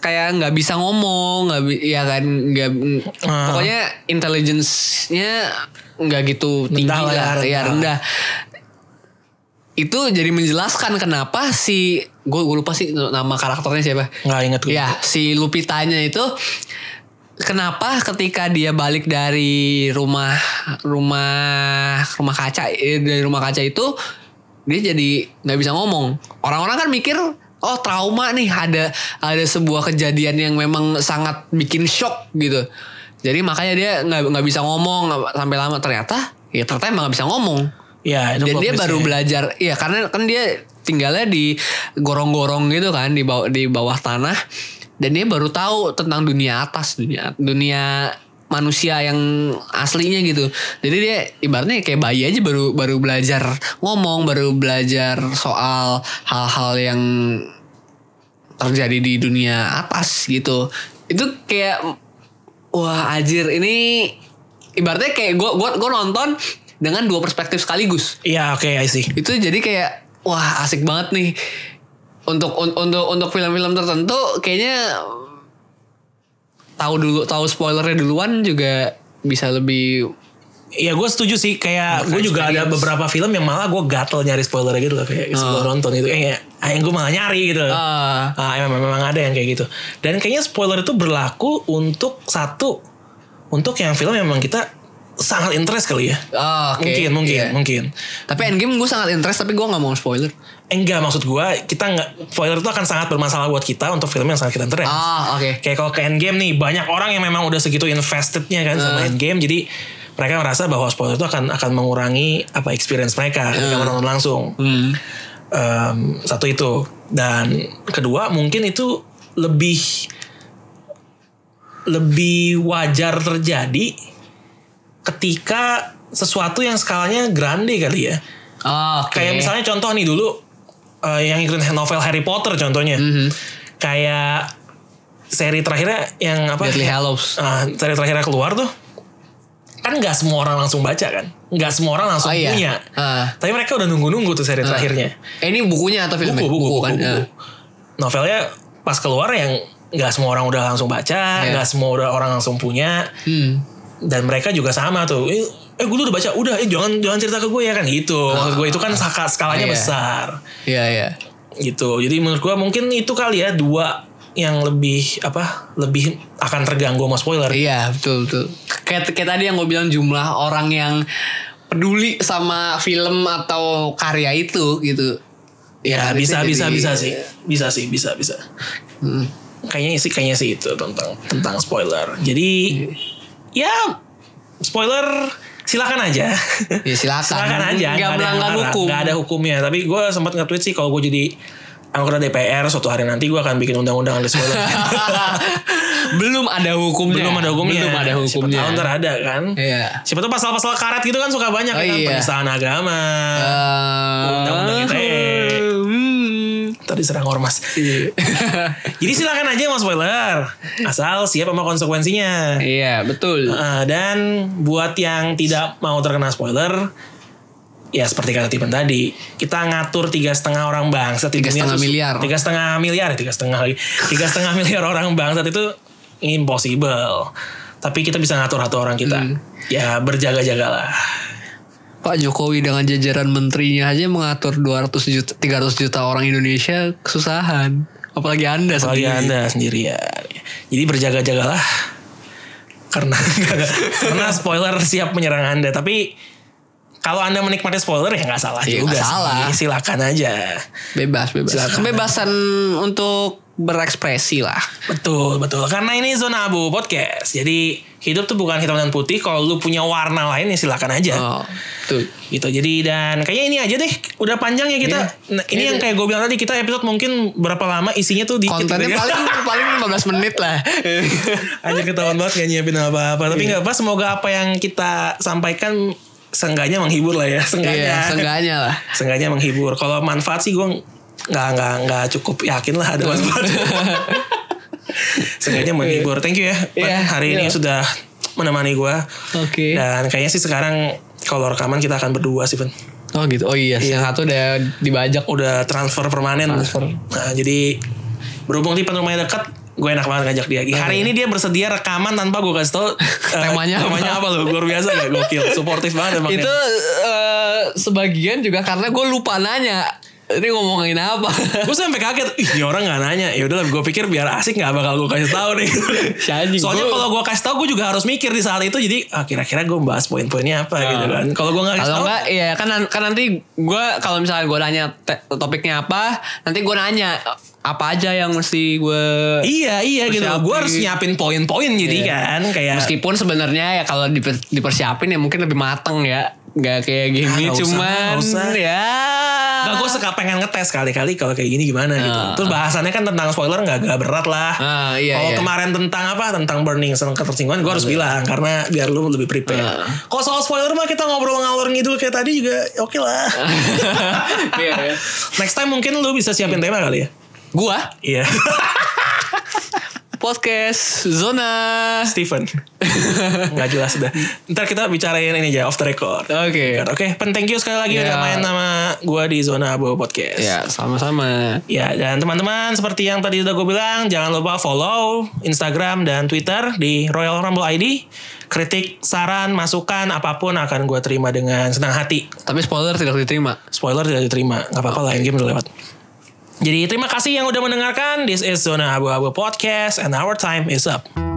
Speaker 2: kayak nggak bisa ngomong, nggak bi- ya kan nggak
Speaker 1: Ah.
Speaker 2: pokoknya intelligence-nya nggak gitu tinggi
Speaker 1: Rendah lah ya,
Speaker 2: lah, ya
Speaker 1: rendah.
Speaker 2: rendah. Itu jadi menjelaskan kenapa si gue lupa sih nama karakternya siapa.
Speaker 1: Nggak inget gue.
Speaker 2: Ya, si Lupitanya itu kenapa ketika dia balik dari rumah rumah rumah kaca eh, dari rumah kaca itu dia jadi nggak bisa ngomong. Orang-orang kan mikir oh trauma nih ada ada sebuah kejadian yang memang sangat bikin shock gitu. Jadi makanya dia nggak nggak bisa ngomong nggak- sampai lama ternyata ya ternyata emang nggak bisa ngomong.
Speaker 1: Iya, itu plot
Speaker 2: Dan dia
Speaker 1: twist-nya.
Speaker 2: baru belajar, iya karena kan dia tinggalnya di gorong-gorong gitu kan di bawah di bawah tanah. Dan dia baru tahu tentang dunia atas, dunia dunia manusia yang aslinya gitu. Jadi dia ibaratnya kayak bayi aja baru baru belajar ngomong, baru belajar soal hal-hal yang terjadi di dunia atas gitu. Itu kayak wah ajir ini ibaratnya kayak gue gua, gua nonton dengan dua perspektif sekaligus
Speaker 1: Iya, oke, I see.
Speaker 2: itu jadi kayak wah asik banget nih untuk un- untuk untuk film-film tertentu kayaknya mm, tahu dulu tahu spoilernya duluan juga bisa lebih
Speaker 1: Ya gue setuju sih kayak gue juga ada
Speaker 2: experience.
Speaker 1: beberapa film yang malah gue gatel nyari spoiler gitu loh kayak
Speaker 2: Oh.
Speaker 1: sebelum nonton gitu kayak ah, yang gue malah nyari gitu.
Speaker 2: Ah.
Speaker 1: Ah, emang, memang ada yang kayak gitu. Dan kayaknya spoiler itu berlaku untuk satu untuk yang film yang memang kita sangat interest kali ya.
Speaker 2: ah, oke
Speaker 1: Mungkin mungkin
Speaker 2: Iya.
Speaker 1: mungkin. Eh,
Speaker 2: tapi endgame gue sangat interest tapi gue nggak mau spoiler
Speaker 1: Enggak maksud gue kita nggak spoiler itu akan sangat bermasalah buat kita untuk film yang sangat kita interest.
Speaker 2: ah oke
Speaker 1: Kayak kalau ke Endgame nih banyak orang yang memang udah segitu investednya kan sama
Speaker 2: Ah.
Speaker 1: Endgame jadi mereka merasa bahwa spoiler itu akan akan mengurangi apa experience mereka ketika
Speaker 2: Ah.
Speaker 1: menonton langsung.
Speaker 2: Hmm.
Speaker 1: Em, satu itu dan kedua mungkin itu lebih lebih wajar terjadi ketika sesuatu yang skalanya grande kali ya.
Speaker 2: Ah, oke
Speaker 1: Kayak misalnya contoh nih dulu eh, yang ikutin novel Harry Potter contohnya.
Speaker 2: Mhm.
Speaker 1: Kayak seri terakhirnya yang apa?
Speaker 2: Deadly Hallows
Speaker 1: Ah, seri terakhirnya keluar tuh kan nggak semua orang langsung baca kan? Nggak semua orang langsung
Speaker 2: Oh, iya.
Speaker 1: punya.
Speaker 2: Ah.
Speaker 1: Tapi mereka udah nunggu-nunggu tuh seri terakhirnya.
Speaker 2: eh, ini bukunya atau filmnya
Speaker 1: Buku, buku, buku,
Speaker 2: kan
Speaker 1: buku.
Speaker 2: Ah.
Speaker 1: Novelnya pas keluar yang nggak semua orang udah langsung
Speaker 2: Iya.
Speaker 1: baca, nggak semua udah orang langsung punya
Speaker 2: Hmm.
Speaker 1: dan mereka juga sama tuh eh, eh gue udah baca udah eh jangan jangan cerita ke gue ya kan gitu maksud gue itu kan saka- skalanya
Speaker 2: Iya.
Speaker 1: besar
Speaker 2: Iya iya.
Speaker 1: gitu jadi menurut gue mungkin itu kali ya dua yang lebih apa lebih akan terganggu sama spoiler
Speaker 2: Iya betul betul. Kayak, kayak tadi yang gue bilang jumlah orang yang peduli sama film atau karya itu gitu.
Speaker 1: ya bisa bisa
Speaker 2: harusnya jadi-
Speaker 1: bisa sih bisa sih bisa bisa
Speaker 2: Hmm.
Speaker 1: kayaknya sih kayaknya sih itu tentang tentang spoiler jadi ya spoiler silakan aja
Speaker 2: Ya silakan.
Speaker 1: silakan aja ada
Speaker 2: Gak
Speaker 1: yang
Speaker 2: melanggar
Speaker 1: larang,
Speaker 2: hukum.
Speaker 1: nggak ada hukumnya tapi gue sempat nge-tweet sih kalau gue jadi anggota DPR suatu hari nanti gue akan bikin undang-undang anti spoiler
Speaker 2: Belum ada hukumnya.
Speaker 1: belum ada hukumnya
Speaker 2: Belum ada hukumnya.
Speaker 1: siapa tahu ntar ada kan
Speaker 2: Iya.
Speaker 1: siapa tahu pasal-pasal karet gitu kan suka banyak
Speaker 2: Oh,
Speaker 1: kan
Speaker 2: iya.
Speaker 1: penistaan agama
Speaker 2: Eh,
Speaker 1: Undang-undang ITE.
Speaker 2: Hmm.
Speaker 1: tadi serang ormas jadi silakan aja mas spoiler asal siap sama konsekuensinya
Speaker 2: Iya betul.
Speaker 1: Eh, dan buat yang tidak mau terkena spoiler ya seperti kata Tipen tadi kita ngatur tiga setengah orang bangsa
Speaker 2: Tiga setengah miliar.
Speaker 1: tiga setengah miliar tiga setengah lagi tiga setengah miliar orang bangsa itu impossible tapi kita bisa ngatur satu orang kita
Speaker 2: Hmm.
Speaker 1: ya berjaga-jagalah
Speaker 2: Pak Jokowi dengan jajaran menterinya aja mengatur 200 juta 300 juta orang Indonesia kesusahan. Apalagi Anda
Speaker 1: apalagi
Speaker 2: sendiri.
Speaker 1: anda sendirian jadi berjaga-jagalah karena karena spoiler siap menyerang anda tapi kalau anda menikmati spoiler ya nggak salah
Speaker 2: Iya,
Speaker 1: juga
Speaker 2: nggak salah.
Speaker 1: sih silakan aja
Speaker 2: Bebas, bebas. Kebebasan untuk berekspresi lah.
Speaker 1: Betul, betul. Karena ini zona abu podcast. Jadi hidup tuh bukan hitam dan putih. Kalau lu punya warna lain ya silakan aja.
Speaker 2: Oh, tuh.
Speaker 1: Gitu. Jadi dan kayaknya ini aja deh. Udah panjang ya kita.
Speaker 2: Iya.
Speaker 1: Nah, ini
Speaker 2: Iya.
Speaker 1: yang kayak gue bilang tadi kita episode mungkin berapa lama isinya tuh dikit.
Speaker 2: Kontennya
Speaker 1: gitu ya.
Speaker 2: paling paling 15 menit lah.
Speaker 1: Anjir ketahuan banget gak nyiapin apa-apa. Tapi
Speaker 2: Iya.
Speaker 1: nggak apa. Semoga apa yang kita sampaikan seenggaknya menghibur lah ya. Seenggaknya.
Speaker 2: Iya, seenggaknya lah.
Speaker 1: Seenggaknya menghibur. Kalau manfaat sih gue nggak nggak nggak cukup yakin lah ada manfaat. Seenggaknya menghibur. Thank you ya. Pat.
Speaker 2: Iya,
Speaker 1: Hari ini
Speaker 2: iya.
Speaker 1: sudah menemani gue.
Speaker 2: Oke.
Speaker 1: Dan kayaknya sih sekarang kalau rekaman kita akan berdua sih, Pen.
Speaker 2: Oh gitu. Oh iya, yang satu udah dibajak.
Speaker 1: Udah transfer permanen.
Speaker 2: Transfer.
Speaker 1: Nah, jadi berhubung di rumahnya dekat, gue enak banget ngajak dia. Hari ini dia bersedia rekaman tanpa gue kasih tau eh,
Speaker 2: Iya. Temanya apa?
Speaker 1: temanya apa loh. Luar biasa gak? Gokil. Suportif banget emang. ya.
Speaker 2: Itu
Speaker 1: Itu
Speaker 2: eh, sebagian juga karena gue lupa nanya. Ini ngomongin apa?
Speaker 1: gue sampai kaget. Ih, ini orang gak nanya. Ya udahlah, gue pikir biar asik gak bakal gue kasih tahu nih.
Speaker 2: Si anjing,
Speaker 1: Soalnya
Speaker 2: gua-
Speaker 1: kalau gue kasih tahu gue juga harus mikir di saat itu. Jadi ah, kira-kira gue bahas poin-poinnya apa gitu kan. Kalau gue gak kasih
Speaker 2: Nah.
Speaker 1: tahu,
Speaker 2: Kalau enggak ya kan kan nanti gue kalau misalnya gue nanya te- topiknya apa, nanti gue nanya apa aja yang mesti gue
Speaker 1: Iya iya gitu.
Speaker 2: Persiapin. Iya.
Speaker 1: Gue harus nyiapin poin-poin jadi kan kayak
Speaker 2: meskipun sebenarnya ya kalau diper- dipersiapin ya mungkin lebih mateng ya. Gak kayak gini
Speaker 1: Ah, nggak usah,
Speaker 2: cuman
Speaker 1: nggak usah.
Speaker 2: ya.
Speaker 1: Gak gue suka pengen ngetes kali-kali kalau kayak gini gimana gitu. Terus bahasannya kan tentang spoiler nggak agak berat lah.
Speaker 2: Ah, iya,
Speaker 1: kalau
Speaker 2: iya.
Speaker 1: kemarin tentang apa tentang burning sama ketersinggungan gue harus bilang karena biar lu lebih
Speaker 2: Ah.
Speaker 1: prepare. Kalau soal spoiler mah kita ngobrol ngalor ngidul kayak tadi juga oke lah.
Speaker 2: Iya, iya.
Speaker 1: Next time mungkin lu bisa siapin tema kali ya.
Speaker 2: Gua
Speaker 1: Iya,
Speaker 2: podcast zona.
Speaker 1: Steven. nggak jelas udah. Ntar kita bicarain ini aja off the record.
Speaker 2: Oke.
Speaker 1: Oke, Pen, thank you sekali lagi
Speaker 2: Ya.
Speaker 1: udah main sama gue di Zona Abu Podcast.
Speaker 2: Ya, sama-sama.
Speaker 1: Ya, dan teman-teman seperti yang tadi udah gue bilang, jangan lupa follow Instagram dan Twitter di Royal Rumble ID. Kritik, saran, masukan, apapun akan gue terima dengan senang hati.
Speaker 2: Tapi spoiler tidak diterima.
Speaker 1: Spoiler tidak diterima, nggak apa-apa lah, ini game udah lewat. Jadi terima kasih yang udah mendengarkan. This is Zona Abu-Abu Podcast and our time is up.